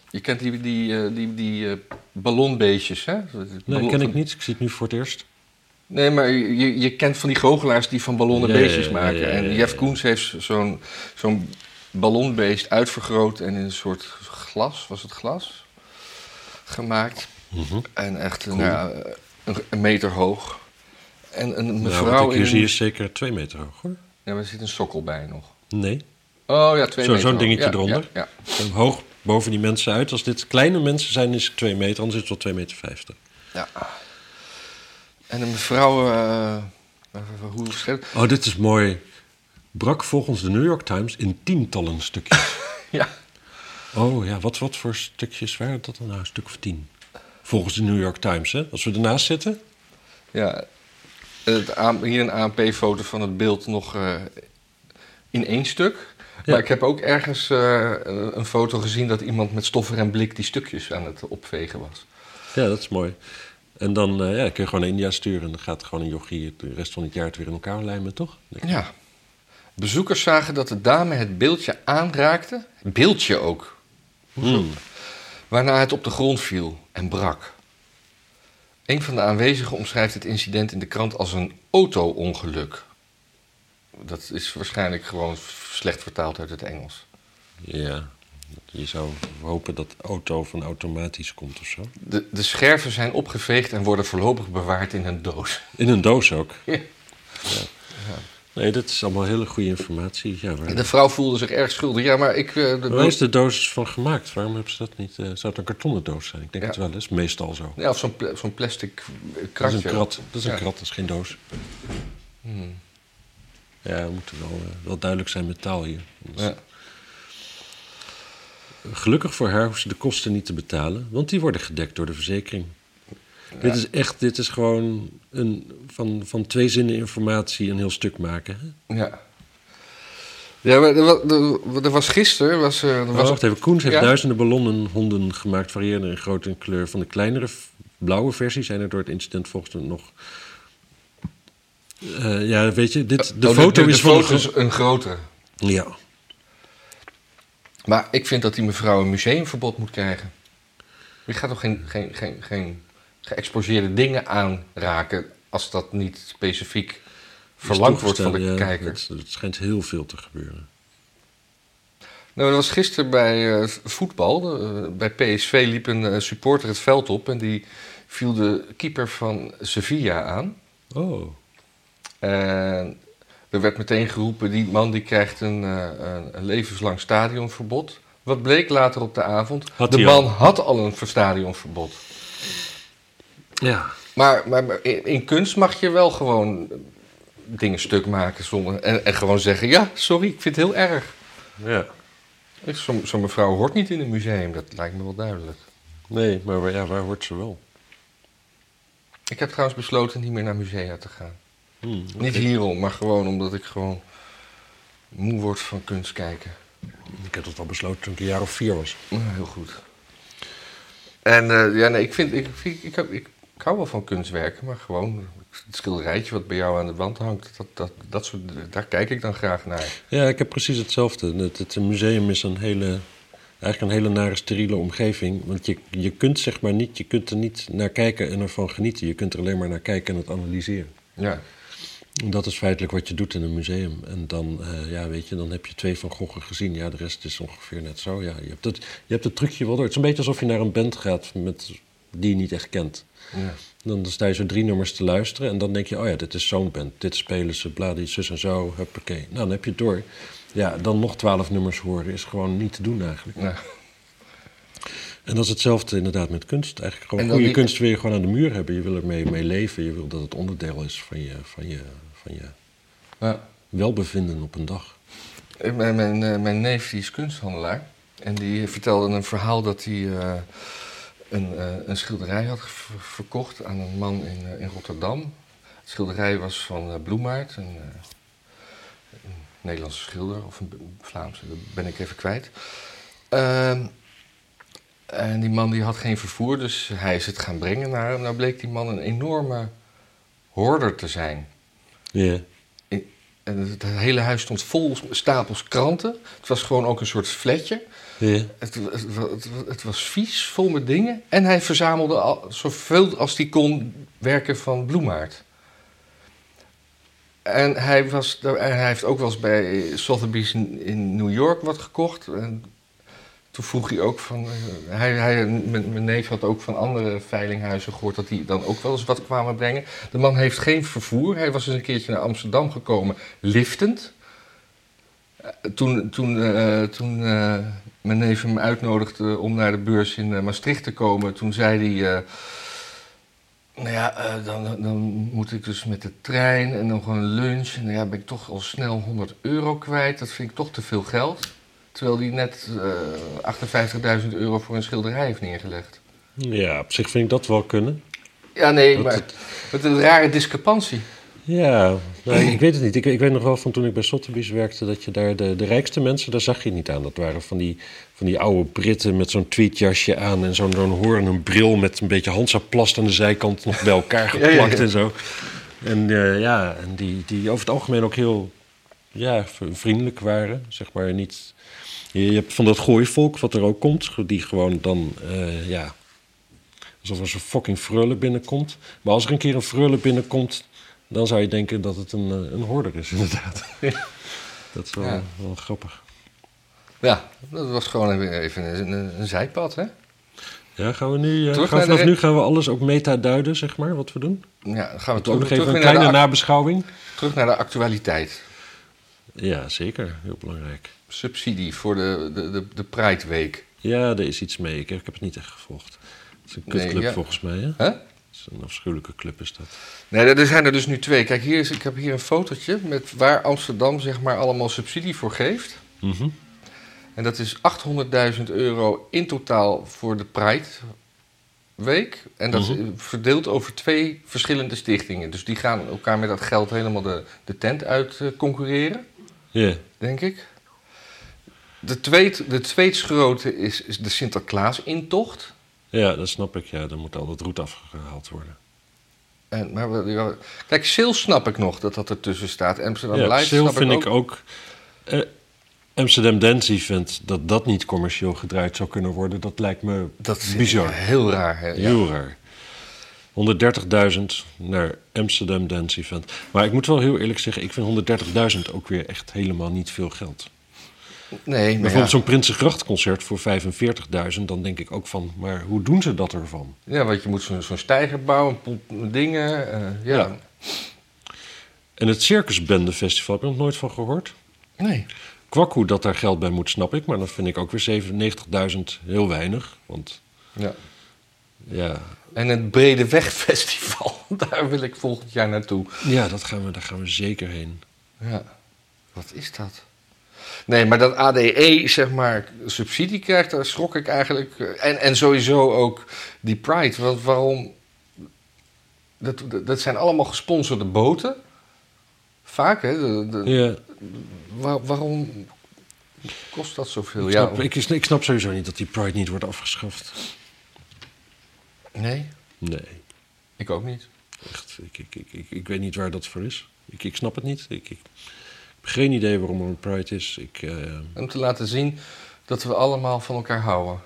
je kent die, die, eh, die, die eh, ballonbeestjes, hè?
Nee,
Ballon-
ken ik niet. Ik zie het nu voor het eerst.
Nee, maar je, je kent van die goochelaars die van ballonnen
Ja, ja,
beestjes
ja,
maken.
ja, ja, ja.
En Jeff Koens heeft zo'n zo'n ballonbeest uitvergroot en in een soort glas, was het glas, gemaakt. En echt nou ja, een, een meter hoog. En een
nou, wat
mevrouw
ik hier
in...
zie is zeker twee meter hoog, hoor.
Ja, maar er zit een sokkel bij nog.
Nee.
Oh ja, twee
Zo-
meter.
zo'n
hoog.
dingetje
Ja,
eronder.
Ja,
Zo Hoog boven die mensen uit. Als dit kleine mensen zijn, is het 2 meter. Anders is het wel 2,50 meter. 50.
ja, ja. En een mevrouw... eh, hoe schrijf
Oh, dit is mooi. Brak volgens de New York Times in tientallen stukjes.
Ja.
oh ja, wat, wat voor stukjes waren dat dan nou? Een stuk of tien. Volgens de New York Times, hè? Als we ernaast zitten.
ja. Het, A- hier een ANP-foto van het beeld nog eh, in één stuk.
Ja.
Maar ik heb ook ergens eh, een foto gezien dat iemand met stoffer en blik die stukjes aan het opvegen was.
Ja, dat is mooi. En dan eh, ja, kun je gewoon naar India sturen. En dan gaat gewoon een yogi de rest van het jaar het weer in elkaar lijmen, toch? Denk ik.
Ja. Bezoekers zagen dat de dame het beeldje aanraakte. Beeldje ook.
Hmm.
waarna het op de grond viel en brak. Een van de aanwezigen omschrijft het incident in de krant als een auto-ongeluk. Dat is waarschijnlijk gewoon slecht vertaald uit het Engels.
Ja. Je zou hopen dat auto van automatisch komt of zo.
De, de scherven zijn opgeveegd en worden voorlopig bewaard in een doos.
In een doos ook.
Ja.
Nee, dat is allemaal hele goede informatie. Ja, waar...
De vrouw voelde zich erg schuldig. Ja, maar ik... eh, de-
Waar is de doos van gemaakt? Waarom hebben ze dat niet? eh, zou het een kartonnen doos zijn? Ik denk
Ja.
het wel eens. Meestal zo.
ja, of zo'n pla- zo'n plastic
Dat is
kratje.
een krat. Dat is een
Ja.
krat, dat is geen doos.
Hmm.
Ja, we moeten wel, eh, wel duidelijk zijn met taal hier. Anders-
Ja.
Gelukkig voor haar hoeft ze de kosten niet te betalen, want die worden gedekt door de verzekering. Dit is echt, dit is gewoon een, van, van twee zinnen informatie een heel stuk maken. Hè?
Ja. Ja, maar er, wa- er- er was gisteren... Was, eh, er- er
Oh,
was,
wacht even, Koens heeft
Ja?
duizenden ballonnen honden gemaakt, variërende in grootte en kleur. Van de kleinere v- blauwe versie zijn er door het incident volgens hem nog. Eh, ja, weet je, dit, de
Oh,
foto is van.
foto is een grotere.
de- Ja.
Maar ik vind dat die mevrouw een museumverbod moet krijgen. Je gaat toch geen, geen, geen, geen geëxposeerde dingen aanraken als dat niet specifiek verlangd wordt van de
Ja,
kijker.
Het, het schijnt heel veel te gebeuren.
Nou, dat was gisteren bij eh, voetbal. De, eh, bij PSV liep een eh, supporter het veld op en die viel de keeper van Sevilla aan.
Oh.
En er werd meteen geroepen, die man die krijgt een, eh, een, een levenslang stadionverbod. Wat bleek later op de avond?
Had
de
hij
man
al.
had al een stadionverbod.
Ja.
Maar, maar, maar in, in kunst mag je wel gewoon dingen stuk maken zonder, en, en gewoon zeggen: Ja, sorry, ik vind het heel erg.
ja.
Ik- Zo'n zo'n mevrouw hoort niet in een museum, dat lijkt me wel duidelijk.
Nee, maar waar- ja, waar hoort ze wel?
Ik heb trouwens besloten niet meer naar musea te gaan.
Hmm,
Niet
oké.
hierom, maar gewoon omdat ik gewoon moe word van kunst kijken.
Ik heb dat al besloten toen ik een jaar of vier was.
Nou, heel goed. En eh, ja, nee, ik, vind, ik, ik, ik, ik, ik hou wel van kunstwerken, maar gewoon het schilderijtje wat bij jou aan de wand hangt, dat, dat, dat soort, daar kijk ik dan graag naar.
Ja, ik heb precies hetzelfde. Het, het museum is een hele, eigenlijk een hele nare steriele omgeving. Want je, je kunt zeg maar niet, je kunt er niet naar kijken en ervan genieten. Je kunt er alleen maar naar kijken en het analyseren.
Ja.
En Dat is feitelijk wat je doet in een museum. En dan, eh, ja, weet je, dan heb je twee van Gogh gezien. Ja, de rest is ongeveer net zo. Ja, je, hebt het, je hebt het trucje wel door. Het is een beetje alsof je naar een band gaat met, die je niet echt kent.
ja.
Dan sta je zo drie nummers te luisteren en dan denk je, oh ja, dit is zo'n band. Dit spelen ze, bla, die zus en zo, huppakee. Nou, dan heb je het door. Ja, dan nog twaalf nummers horen is gewoon niet te doen eigenlijk.
Ja.
En dat is hetzelfde inderdaad met kunst. Eigenlijk gewoon
En dan
goede
die-
kunst wil je gewoon aan de muur hebben. Je wil ermee mee leven. Je wil dat het onderdeel is van je, van je, van je
Ja.
welbevinden op een dag.
Ik- Mijn, mijn, eh, mijn neef die is kunsthandelaar. En die vertelde een verhaal dat hij eh, een, eh, een schilderij had ge- ver- verkocht aan een man in, eh, in Rotterdam. Het schilderij was van eh, Bloemaert, een, eh, een Nederlandse schilder of een B- Vlaamse, dat ben ik even kwijt. Ehm, en die man die had geen vervoer, dus hij is het gaan brengen naar hem. Nou bleek die man een enorme hoorder te zijn.
Ja.
En het hele huis stond vol stapels kranten. Het was gewoon ook een soort flatje.
Ja.
Het, het, wa- het wa- het was vies, vol met dingen. En hij verzamelde al, zoveel als hij kon werken van Bloemaert. En hij, was, en hij heeft ook wel eens bij Sotheby's in, in New York wat gekocht. En toen vroeg hij ook van... eh, Hij, hij, mijn, mijn neef had ook van andere veilinghuizen gehoord... dat die dan ook wel eens wat kwamen brengen. De man heeft geen vervoer. Hij was eens een keertje naar Amsterdam gekomen, liftend. toen, toen, eh, toen eh, mijn neef hem uitnodigde om naar de beurs in eh, Maastricht te komen, toen zei hij. eh, nou ja, eh, dan, dan moet ik dus met de trein en nog een lunch. En nou ja, ben ik toch al snel 100 euro kwijt. Dat vind ik toch te veel geld. Terwijl hij net eh 58.000 euro voor een schilderij heeft neergelegd.
Ja, op zich vind ik dat wel kunnen.
Ja, nee,
Dat
maar met een rare discrepantie.
Ja, nou, ik weet het niet. Ik, ik weet nog wel van toen ik bij Sotheby's werkte... dat je daar de, de rijkste mensen, daar zag je niet aan. Dat waren van die, van die oude Britten met zo'n tweetjasje aan... en zo'n zo'n hoorn, een bril met een beetje handsaplast aan de zijkant... nog bij elkaar
Ja, ja,
geplakt
ja.
en zo. En eh, ja, en die, die over het algemeen ook heel ja, v- vriendelijk waren. Zeg maar niet... Je, je hebt van dat gooivolk wat er ook komt... die gewoon dan, eh, ja... Alsof Dus er zo'n fucking frulle binnenkomt. Maar als er een keer een frulle binnenkomt... Dan zou je denken dat het een, eh, een hoorder is, inderdaad. dat is wel,
Ja.
wel grappig.
Ja, dat was gewoon weer even een, een, een zijpad, hè?
Ja, gaan we nu, eh,
Terug
gaan,
naar
vanaf
de-
nu gaan we alles ook meta-duiden, zeg maar, wat we doen.
Ja, dan gaan we
We ook
terug,
nog
terug,
even een
weer naar,
kleine
de, ac-
nabeschouwing.
terug naar de actualiteit.
Ja, zeker. Heel belangrijk.
Subsidie voor de, de, de, de Pride Week.
Ja, er is iets mee. Ik, ik heb het niet echt gevolgd. Het is een
Nee,
kutclub
ja.
volgens mij, hè?
Hè?
Het is een afschuwelijke club, is dat.
Nee, er- er zijn er dus nu twee. Kijk, hier is, ik heb hier een fotootje met waar Amsterdam zeg maar allemaal subsidie voor geeft.
Mhm.
En dat is 800.000 euro in totaal voor de Pride Week. En dat is
Mhm.
verdeeld over twee verschillende stichtingen. Dus die gaan elkaar met dat geld helemaal de, de tent uit eh, concurreren,
Ja.
denk ik. De, tweet, de tweede grote is, is de Sinterklaas-intocht.
ja, dat snap ik. Ja, dan moet al dat roet afgehaald worden.
En, maar, we- we- kijk, Sales snap ik nog dat dat ertussen staat. Amsterdam
Ja,
Light
Sale
snap
vind
ik
ik
ook.
ook. eh, Amsterdam Dance Event, dat dat niet commercieel gedraaid zou kunnen worden, dat lijkt me
Dat is
bizar.
heel raar. Hè? Ja.
Heel raar. 130.000 naar Amsterdam Dance Event. Maar ik moet wel heel eerlijk zeggen, ik vind 130.000 ook weer echt helemaal niet veel geld.
Nee, maar ja.
Bijvoorbeeld zo'n Prinsengrachtconcert voor 45.000, dan denk ik ook van, maar hoe doen ze dat ervan?
ja, want je moet zo'n zo'n stijger bouwen, een pomp- dingen. eh, ja.
Ja. En het Circusbende Festival, heb je nog nooit van gehoord?
Nee.
Kwakkoe dat daar geld bij moet, snap ik, maar dan vind ik ook weer 97.000 heel weinig. Want
Ja.
ja,
En het Brede Wegfestival, daar wil ik volgend jaar naartoe.
ja dat gaan we, daar gaan we zeker heen.
Ja. Wat is dat? Nee, maar dat ADE, zeg maar, subsidie krijgt, daar schrok ik eigenlijk. eh, En, en sowieso ook die Pride. Want waarom? Dat, dat- dat zijn allemaal gesponsorde boten. Vaak, hè? De- de-
Ja,
waar- waarom kost dat zoveel?
ik,
Ja,
snap, ik, ik snap sowieso niet dat die Pride niet wordt afgeschaft.
nee,
Nee.
ik ook niet.
Echt, ik, ik, ik, ik, ik weet niet waar dat voor is. Ik, ik snap het niet. Ik, ik heb geen idee waarom er een Pride is. Ik, eh,
Om te laten zien dat we allemaal van elkaar houden.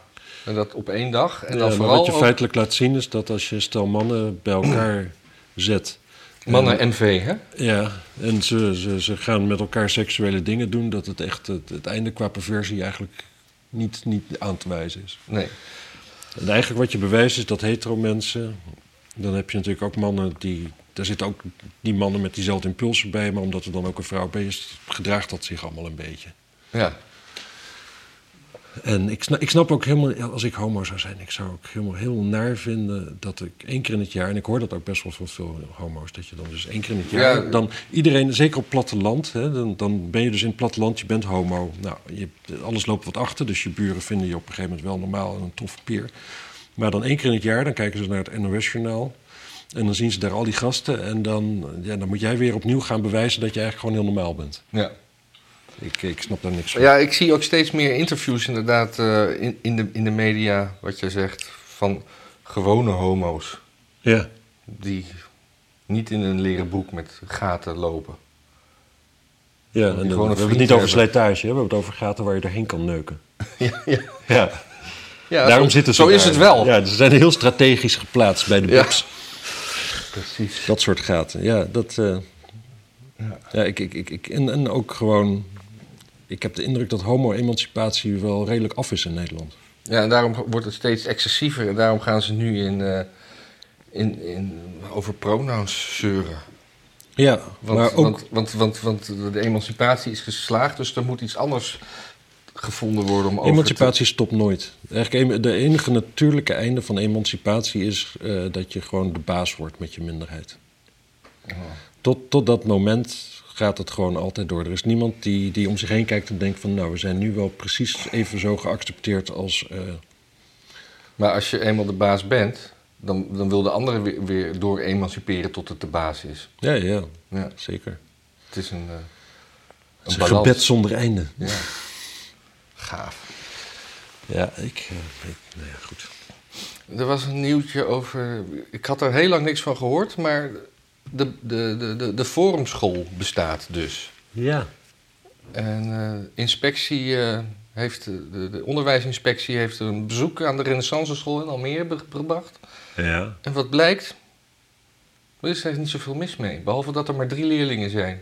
En dat op één dag. En
ja,
dan
maar
vooral
wat je
ook
feitelijk laat zien is dat als je een stel mannen bij elkaar zet.
mannen MV, hè?
Ja, en ze, ze, ze gaan met elkaar seksuele dingen doen, dat het echt het, het einde qua perversie eigenlijk niet, niet aan te wijzen is.
Nee.
En eigenlijk wat je bewijst is dat hetero mensen, dan heb je natuurlijk ook mannen die, daar zitten ook die mannen met diezelfde impulsen bij, maar omdat er dan ook een vrouw bij is, gedraagt dat zich allemaal een beetje.
Ja.
En ik snap, ik snap ook helemaal, als ik homo zou zijn, ik zou ook helemaal heel naar vinden dat ik één keer in het jaar, en ik hoor dat ook best wel van veel homo's, dat je dan dus één keer in het jaar,
Ja.
dan iedereen, zeker op platteland, hè, dan, dan ben je dus in het platteland, je bent homo. Nou, je, alles loopt wat achter, dus je buren vinden je op een gegeven moment wel normaal en een toffe peer. Maar dan één keer in het jaar, dan kijken ze naar het NOS-journaal. En dan zien ze daar al die gasten. En dan, ja, dan moet jij weer opnieuw gaan bewijzen dat je eigenlijk gewoon heel normaal bent.
Ja.
Ik, ik snap daar niks van.
Ja, ik zie ook steeds meer interviews inderdaad eh, in, in, de, in de media, wat jij zegt, van gewone homo's.
ja.
Die niet in een leren boek met gaten lopen.
Ja,
Die
en dan,
gewoon een
we hebben het
vriend
niet over
hebben.
slijtage, hè? we hebben het over gaten waar je doorheen kan neuken.
ja, ja.
Ja,
ja,
daarom
zo,
zitten ze
Zo is
daar.
het wel.
Ja, ze zijn heel strategisch geplaatst bij de
Ja.
box.
precies.
Dat soort gaten, ja. Dat, eh, ja. ik, ik, ik, ik, en, en ook gewoon... Ik heb de indruk dat homo-emancipatie wel redelijk af is in Nederland.
Ja, en daarom wordt het steeds excessiever. En daarom gaan ze nu in, eh, in, in, over pronouns zeuren.
Ja,
Want,
maar ook...
want, want, want, want de emancipatie is geslaagd, dus er moet iets anders gevonden worden om over
Emancipatie stopt nooit. Eigenlijk em- de enige natuurlijke einde van emancipatie is eh, dat je gewoon de baas wordt met je minderheid. Oh. Tot, tot dat moment gaat het gewoon altijd door. Er is niemand die, die om zich heen kijkt en denkt van... nou, we zijn nu wel precies even zo geaccepteerd als... eh,
te... Maar als je eenmaal de baas bent, dan, dan wil de andere weer, weer door emanciperen tot het de baas is.
ja, ja,
Ja,
zeker.
het is een, eh,
Het is een
balans.
gebed zonder einde.
Ja. Gaaf.
Ja, ik... eh, ik- nou ja, goed.
Er was een nieuwtje over... Ik had er heel lang niks van gehoord, maar de, de, de, de, de forumschool bestaat dus.
Ja.
En eh, inspectie eh, heeft, de, de- de onderwijsinspectie heeft een bezoek aan de Renaissance School in Almere be- gebracht.
Ja.
En wat blijkt? Er is eigenlijk niet zoveel mis mee, behalve dat er maar drie leerlingen zijn.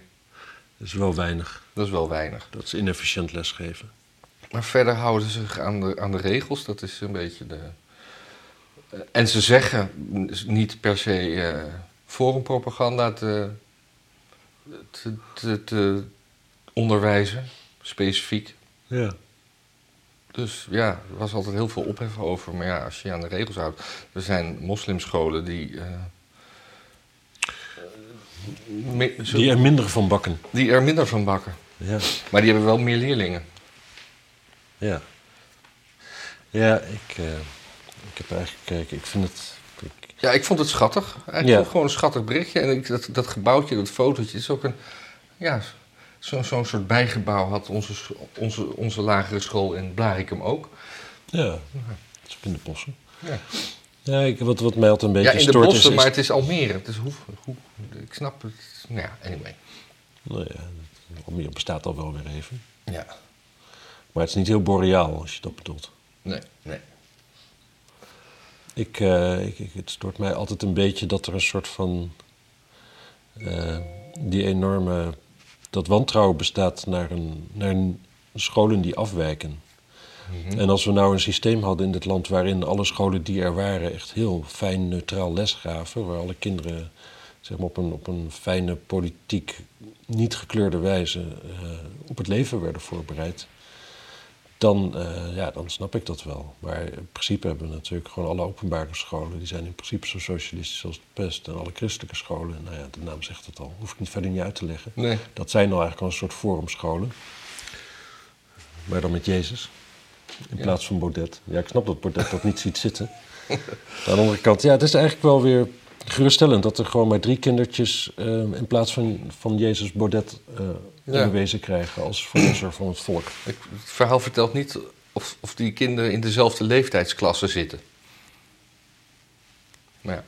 Dat is wel weinig.
Dat is wel weinig.
Dat is inefficiënt lesgeven.
Maar verder houden ze zich aan de, aan de regels, dat is een beetje de. Eh, En ze zeggen mm, is niet per se eh forumpropaganda te, te, te, te onderwijzen, specifiek.
Ja.
Dus ja, er was altijd heel veel ophef over. Maar ja, als je je aan de regels houdt. Er zijn moslimscholen die. eh, eh, me- zo-
Die er minder van bakken.
die er minder van bakken.
Ja.
Maar die hebben wel meer leerlingen.
Ja. Ja, ik, eh, ik heb eigenlijk gekeken. Ik vind het. ik-
Ja, ik vond het schattig. Eigenlijk
Ja.
vond ik gewoon een schattig berichtje. En ik, dat, dat gebouwtje, dat fotootje, is ook een. Ja, zo- zo'n soort bijgebouw had onze, scho- onze, onze lagere school in Blarikum ook.
ja, het is ook in de bossen.
Ja,
Ja, ik, wat, wat mij altijd een
ja
beetje
in de
stoort
bossen,
is.
maar
is
het is Almere. Het is hoe, hoe, ik snap het. Nou ja, anyway.
nou ja, Almere bestaat al wel weer even.
Ja,
Maar het is niet heel boreaal als je dat bedoelt.
nee, nee.
Ik, eh, ik, ik- het stoort mij altijd een beetje dat er een soort van. eh, die enorme. dat wantrouwen bestaat naar, een, naar een, scholen die afwijken. En als we nou een systeem hadden in dit land waarin alle scholen die er waren echt heel fijn neutraal les gaven, waar alle kinderen zeg maar, op, een, op een fijne politiek niet gekleurde wijze eh, op het leven werden voorbereid, dan, eh, ja, dan snap ik dat wel. Maar in principe hebben we natuurlijk gewoon alle openbare scholen, die zijn in principe zo socialistisch als het pest, en alle christelijke scholen, nou ja, de naam zegt het al, hoef ik niet verder niet uit te leggen.
Nee.
Dat zijn al eigenlijk al een soort forumscholen. Maar dan met Jezus. In
Ja.
plaats van Baudet. Ja, ik snap dat Baudet dat niet ziet zitten. Aan de andere kant, ja, het is eigenlijk wel weer geruststellend dat er gewoon maar drie kindertjes eh, in plaats van, van Jezus Baudet eh
Ja.
bewezen krijgen als verlosser van het volk.
Ik- Het verhaal vertelt niet of, of die kinderen in dezelfde leeftijdsklasse zitten. Maar ja.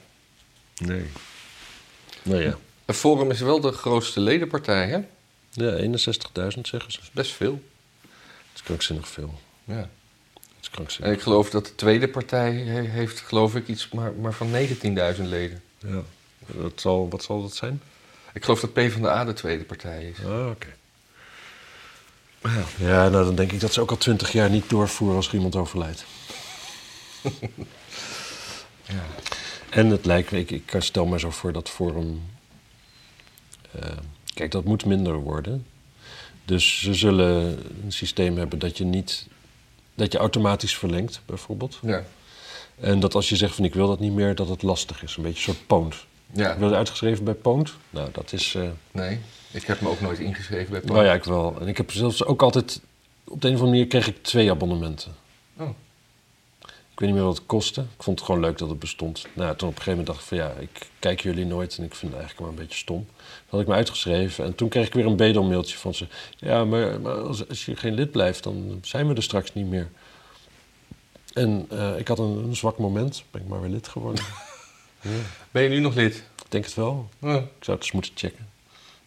Nee. Nou ja,
En Forum is wel de grootste ledenpartij, hè?
ja 61.000 zeggen ze.
Best veel.
Het is krankzinnig veel.
Ja.
Het is krankzinnig.
En ik geloof dat de tweede partij he- heeft, geloof ik, iets maar, maar van 19.000 leden.
Ja. Dat zal, wat zal dat zijn?
Ik geloof dat PvdA de tweede partij is.
Ah, oké. Ja, nou dan denk ik dat ze ook al twintig jaar niet doorvoeren als er iemand overlijdt.
Ja.
En het lijkt, me- ik, ik stel me zo voor dat Forum... eh, kijk, dat moet minder worden. Dus ze zullen een systeem hebben dat je niet... Dat je automatisch verlengt, bijvoorbeeld.
Ja.
En dat als je zegt van ik wil dat niet meer, dat het lastig is. Een beetje een soort poont. Ik
ja.
wilde uitgeschreven bij poont. Nou, dat is... eh,
Nee, ik heb me ook nooit ingeschreven bij
Nou ja, ik wel. En ik heb zelfs ook altijd... Op de een of andere manier kreeg ik twee abonnementen.
Oh.
Ik weet niet meer wat het kostte. Ik vond het gewoon leuk dat het bestond. Nou, toen op een gegeven moment dacht ik van ja, ik kijk jullie nooit en ik vind het eigenlijk maar een beetje stom. Toen had ik me uitgeschreven en toen kreeg ik weer een bedelmailtje van ze. Ja, maar, maar als, als je geen lid blijft, dan zijn we er straks niet meer. En eh, ik had een, een zwak moment, ben ik maar weer lid geworden.
Ben je nu nog lid?
ik denk het wel.
Ja.
Ik zou het eens moeten checken.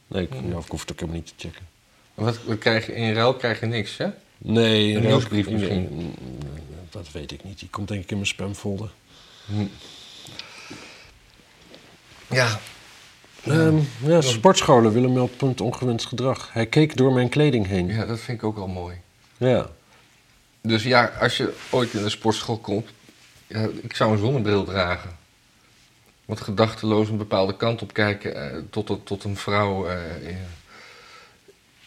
Nee, ik, ja, of ik hoef het ook helemaal niet te checken.
Wat, wat krijg je, in ruil krijg je niks, hè?
Nee,
Een
nou,
nieuwsbrief
ik-
misschien.
ik- Dat weet ik niet. Die komt denk ik in mijn spamfolder.
Ja.
Ehm, ja, sportscholen willen wel punt ongewenst gedrag. Hij keek door mijn kleding heen.
Ja, dat vind ik ook al mooi.
Ja.
Dus ja, als je ooit in de sportschool komt, ja, ik zou een zonnebril dragen. Want gedachteloos een bepaalde kant op kijken eh, tot, tot, tot een vrouw eh, in,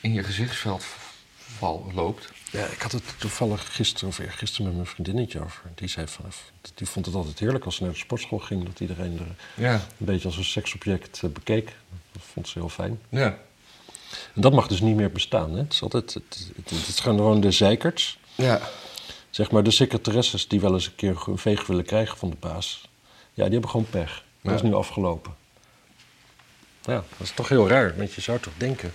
in je gezichtsveld v- val, loopt.
Ja, ik had het toevallig gisteren of eergisteren met mijn vriendinnetje over. Die zei vanaf, die vond het altijd heerlijk als ze naar de sportschool ging, dat iedereen er
Ja,
een beetje als een seksobject eh, bekeek. Dat vond ze heel fijn.
ja.
En dat mag dus niet meer bestaan. Hè? Het, is altijd, het, het, het zijn gewoon de zeikerts.
Ja,
Zeg maar de secretaresses die wel eens een keer een veeg willen krijgen van de baas. Ja, die hebben gewoon pech. Dat
Ja.
is nu afgelopen. Ja, dat is toch heel raar. Want je zou toch denken...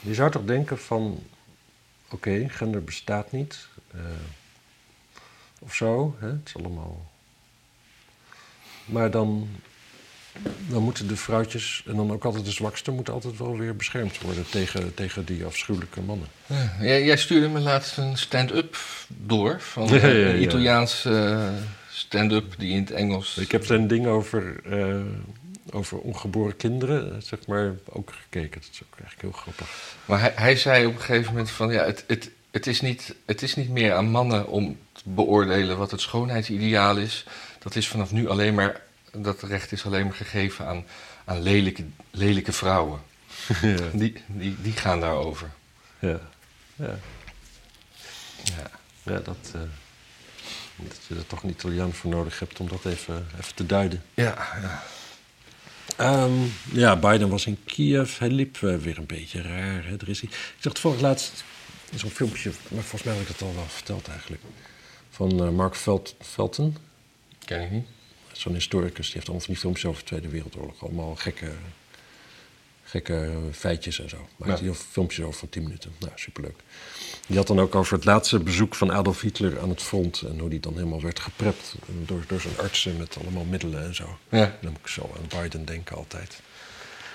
Je zou toch denken van... Oké, gender bestaat niet. eh, of zo. Hè? Het is allemaal... Maar dan... Dan moeten de vrouwtjes, en dan ook altijd de zwakste, moeten altijd wel weer beschermd worden tegen, tegen die afschuwelijke mannen.
Jij, jij stuurde me laatst een stand-up door van
Ja, ja,
eh,
ja.
een Italiaans eh, stand-up die in het Engels.
Ik heb zijn ding over, eh, over ongeboren kinderen, eh, zeg maar, ook gekeken. Dat is ook eigenlijk heel grappig.
Maar hij, hij zei op een gegeven moment van ja, het, het, het, is niet, het is niet meer aan mannen om te beoordelen wat het schoonheidsideaal is. Dat is vanaf nu alleen maar, dat recht is alleen maar gegeven aan, aan lelijke, lelijke vrouwen.
ja.
Die, die, die gaan daarover.
Ja. Ja.
Ja.
ja, dat... eh, dat je er toch een Italiaan voor nodig hebt om dat even, even te duiden.
Ja, ja.
Ehm, ja, Biden was in Kiev. Hij liep eh, weer een beetje raar. Hè? Er is, i- ik zag het vorig laatst in zo'n filmpje, maar volgens mij had ik dat al wel verteld eigenlijk. Van eh, Mark Veld, Velten,
ken ik niet.
zo'n historicus, die heeft allemaal van die films over de Tweede Wereldoorlog. Allemaal gekke, gekke feitjes en zo. Maakt
Ja.
hij heel veel filmpjes over van 10 minuten. Nou, superleuk. Die had dan ook over het laatste bezoek van Adolf Hitler aan het front. En hoe die dan helemaal werd geprept door, door zijn artsen met allemaal middelen en zo.
Ja.
Dan moet ik zo aan Biden denken altijd.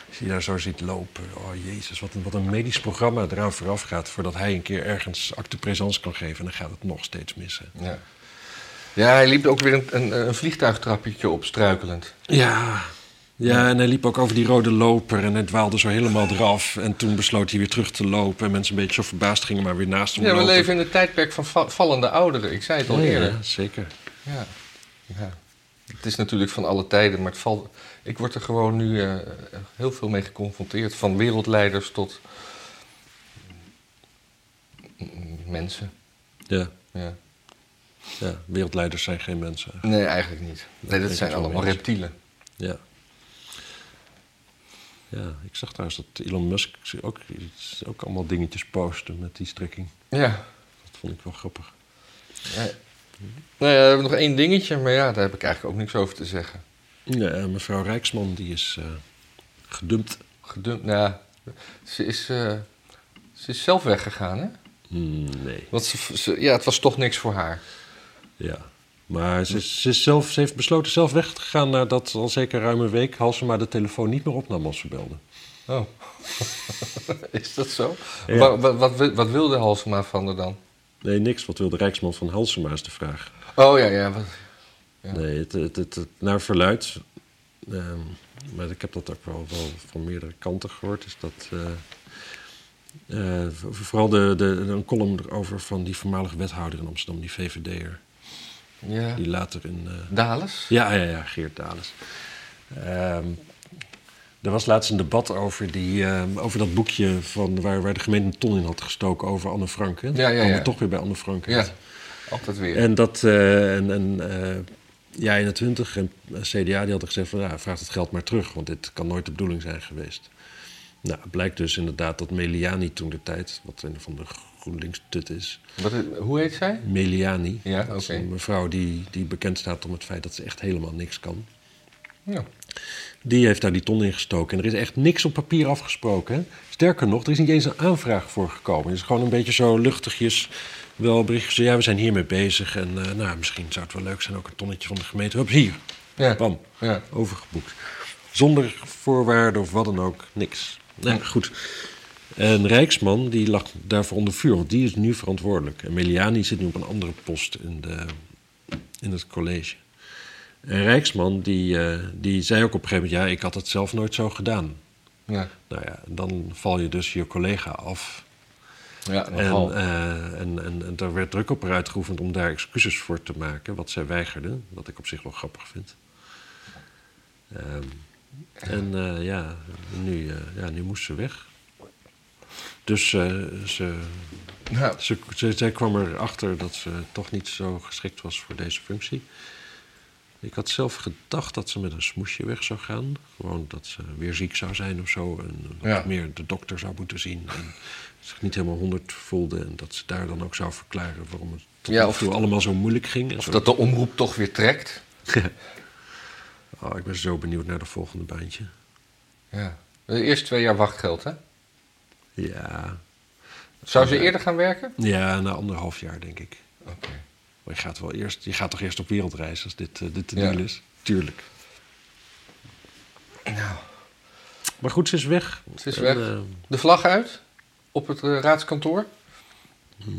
Als je daar zo ziet lopen, oh jezus, wat een, wat een medisch programma eraan vooraf gaat... voordat hij een keer ergens acte présence kan geven en dan gaat het nog steeds missen.
Ja. ja, hij liep ook weer een, een, een vliegtuigtrappetje op, struikelend.
Ja. Ja, en hij liep ook over die rode loper en hij dwaalde zo helemaal eraf. En toen besloot hij weer terug te lopen. En mensen een beetje zo verbaasd gingen maar weer naast hem
Ja, we
lopen.
leven in het tijdperk van va- vallende ouderen. Ik zei het al
Ja,
eerder.
ja, zeker.
Ja. ja. Het is natuurlijk van alle tijden, maar het valt, ik word er gewoon nu eh, heel veel mee geconfronteerd. Van wereldleiders tot mm, mensen.
Ja,
Ja.
ja, wereldleiders zijn geen mensen. eigenlijk.
Nee, eigenlijk niet. Nee, dat
is
zijn
wel
allemaal
eens.
reptielen.
Ja. Ja, ik zag trouwens dat Elon Musk ook, iets- ook allemaal dingetjes postte met die strekking.
Ja.
Dat vond ik wel grappig.
ja. Nou ja, we hebben nog één dingetje, maar ja, daar heb ik eigenlijk ook niks over te zeggen.
Ja, en Eh, mevrouw Rijksman die is eh, gedumpt.
Gedumpt, nou ja, ze is, eh, ze is zelf weggegaan, hè?
Hmm, nee.
Want ze, ze- ja, het was toch niks voor haar.
Ja, maar ze, is- ze, is zelf, ze heeft besloten zelf weg te gaan nadat al zeker ruim een week Halsema de telefoon niet meer opnam als ze belde.
Oh. is dat zo?
Ja.
Wa- wa- wat, wi- wat wilde Halsema van er dan?
Nee, niks. Wat wil de Rijksman van Halsema is de vraag.
Oh ja, ja. wat- Ja.
Nee, het, het, het, het- naar verluid, ehm, maar ik heb dat ook wel, wel van meerdere kanten gehoord, is dat eh, eh, v- vooral de, de, een column erover van die voormalige wethouder in Amsterdam, die VVD'er,
ja.
die later in... eh,
Dales?
Ja, ja, ja, Geert Dales. Ehm, er was laatst een debat over, die, ehm, over dat boekje van waar, waar de gemeente een ton in had gestoken over Anne Frank. Hè?
Ja, ja,
Kwam
ja.
het toch weer bij Anne Frank.
Ja,
uit.
altijd weer.
En dat, eh, en, en eh, ja, in de 20 en eh, CDA die hadden gezegd van, ja, vraag het geld maar terug, want dit kan nooit de bedoeling zijn geweest. Nou, het blijkt dus inderdaad dat Meliani toen de tijd, wat een van de GroenLinks tut is,
Wat is- hoe heet zij?
Meliani,
Ja,
dat is
oké.
een mevrouw die, die bekend staat om het feit dat ze echt helemaal niks kan.
Ja.
Die heeft daar die ton in gestoken. En er is echt niks op papier afgesproken. Hè? Sterker nog, er is niet eens een aanvraag voor gekomen. Het is gewoon een beetje zo luchtigjes. Wel berichtjes. van, Ja, we zijn hiermee bezig. En eh, nou, misschien zou het wel leuk zijn. Ook een tonnetje van de gemeente. Hup, hier.
Ja.
Bam.
ja.
Overgeboekt. Zonder voorwaarden of wat dan ook. Niks. Nou, goed. En Rijksman, die lag daarvoor onder vuur. Want die is nu verantwoordelijk. En Meliani zit nu op een andere post in, de, in het college. En Rijksman, die, eh, die zei ook op een gegeven moment... ja, ik had het zelf nooit zo gedaan.
Ja.
Nou ja, dan val je dus je collega af.
Ja,
En,
nogal.
eh, en, en, en daar werd druk op haar uitgeoefend om daar excuses voor te maken... wat zij weigerde, wat ik op zich wel grappig vind. Ehm, en eh, ja, nu, eh, ja, nu moest ze weg. Dus eh, ze,
Nou,
ze, ze, zij kwam erachter dat ze toch niet zo geschikt was voor deze functie. Ik had zelf gedacht dat ze met een smoesje weg zou gaan. Gewoon dat ze weer ziek zou zijn of zo. En wat
Ja.
meer de dokter zou moeten zien. En zich niet helemaal honderd voelde. En dat ze daar dan ook zou verklaren waarom het tot
Ja,
nu
of-
toe allemaal zo moeilijk ging. En
of
zo.
dat de omroep toch weer trekt.
Oh, ik ben zo benieuwd naar de volgende baantje.
Ja. Eerst twee jaar wachtgeld, hè?
Ja,
Zou ze eerder gaan werken?
ja na anderhalf jaar denk ik.
Oké.
Maar je gaat, wel eerst, je gaat toch eerst op wereldreis als dit, eh, dit de
Ja.
deal is? Tuurlijk.
Nou,
Maar goed, ze is weg.
het is
En,
weg.
eh,
De vlag uit? Op het eh, raadskantoor? Nee.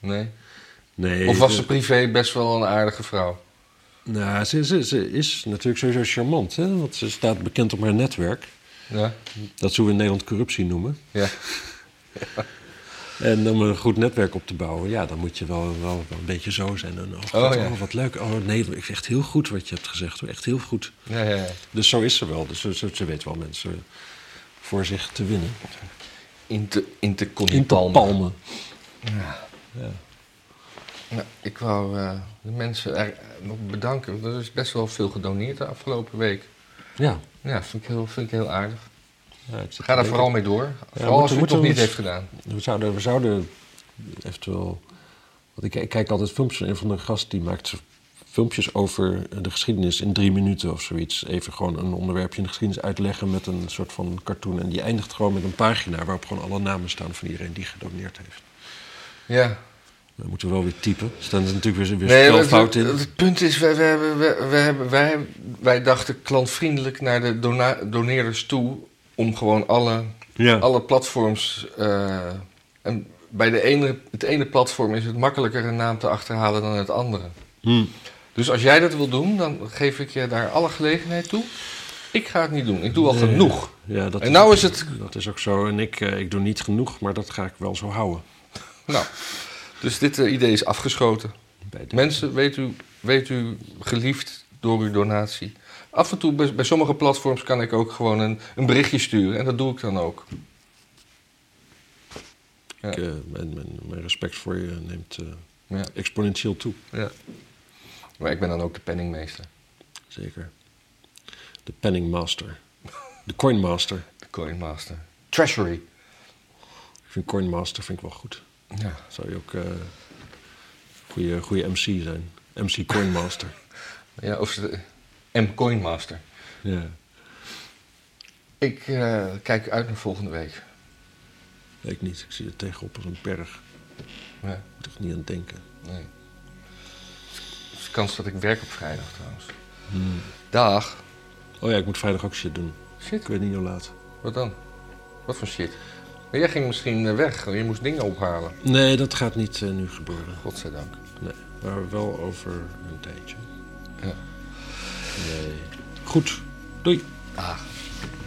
nee.
nee. Of was
de-
ze privé best wel een aardige vrouw?
Nou, ze, ze, ze is natuurlijk sowieso charmant. Hè? Want ze staat bekend om haar netwerk.
Ja.
Dat zullen we in Nederland corruptie noemen.
Ja.
En om een goed netwerk op te bouwen, ja, dan moet je wel, wel een beetje zo zijn. En, oh, god,
ja.
oh, wat leuk. Oh, nee, ik echt heel goed wat je hebt gezegd. Hoor. Echt heel goed.
Ja, ja, ja.
Dus zo is ze wel. Dus ze, ze, ze weet wel mensen voor zich te winnen.
In te, in te
In te palmen.
Nou, ik wou eh, de mensen er, nog bedanken. want Er is best wel veel gedoneerd de afgelopen week.
Ja.
Ja, vind ik heel, vind ik heel aardig.
Ja, het zit
Ga daar
er
vooral mee door. vooral
moeten-
als u het
moeten
nog
we
niet
eens-
heeft gedaan.
We zouden, we zouden eventueel. Want ik, ik kijk altijd filmpjes van een van de gast die maakt filmpjes over de geschiedenis in drie minuten of zoiets. Even gewoon een onderwerpje in de geschiedenis uitleggen met een soort van cartoon. En die eindigt gewoon met een pagina waarop gewoon alle namen staan van iedereen die gedoneerd heeft.
Ja.
Dan moeten we wel weer typen. Dus dan is natuurlijk weer, weer
Nee, maar
spelfout
het,
in.
het, het punt is, wij, wij, hebben- wij, wij, hebben- wij, hebben- wij dachten klantvriendelijk naar de dona- doneerders toe... om gewoon alle,
ja.
alle platforms... eh, en bij de ene, het ene platform is het makkelijker een naam te achterhalen dan het andere.
Hm.
Dus als jij dat wil doen, dan geef ik je daar alle gelegenheid toe. Ik ga het niet doen. Ik doe al
Nee.
genoeg.
Ja, dat
En nou
ook-
is het-
Dat is ook zo. En ik, eh, ik doe niet genoeg, maar dat ga ik wel zo houden.
Nou, dus dit eh, idee is afgeschoten.
Bij de-
Mensen, weet u, weet u geliefd door uw donatie. Af en toe, bij, bij sommige platforms kan ik ook gewoon een, een berichtje sturen. En dat doe ik dan ook. Ja.
Ik, eh, mijn, mijn, mijn respect voor je neemt eh,
Ja,
exponentieel toe.
ja. Maar ik ben dan ook de penningmeester.
Zeker. De penningmaster. De coinmaster.
De coinmaster. Treasury.
Ik vind coinmaster vind ik wel goed.
Ja.
Zou je ook eh goede, goede MC zijn. MC coinmaster.
ja of ze de, en coinmaster.
ja.
Ik eh, kijk uit naar volgende week.
Ik niet. Ik zie het tegenop als een berg.
Ja.
Ik moet er niet aan denken.
Nee. Het is kans dat ik werk op vrijdag trouwens.
Hmm.
Dag.
Oh ja, ik moet vrijdag ook shit doen. Ik
Shit,
weet niet hoe laat.
wat dan? Wat voor shit? Maar jij ging misschien eh, weg. Je moest dingen ophalen.
Nee, dat gaat niet eh, nu gebeuren.
Godzijdank.
Nee. Maar wel over een tijdje.
Ja.
Nee. Goed. Doei.
Dag.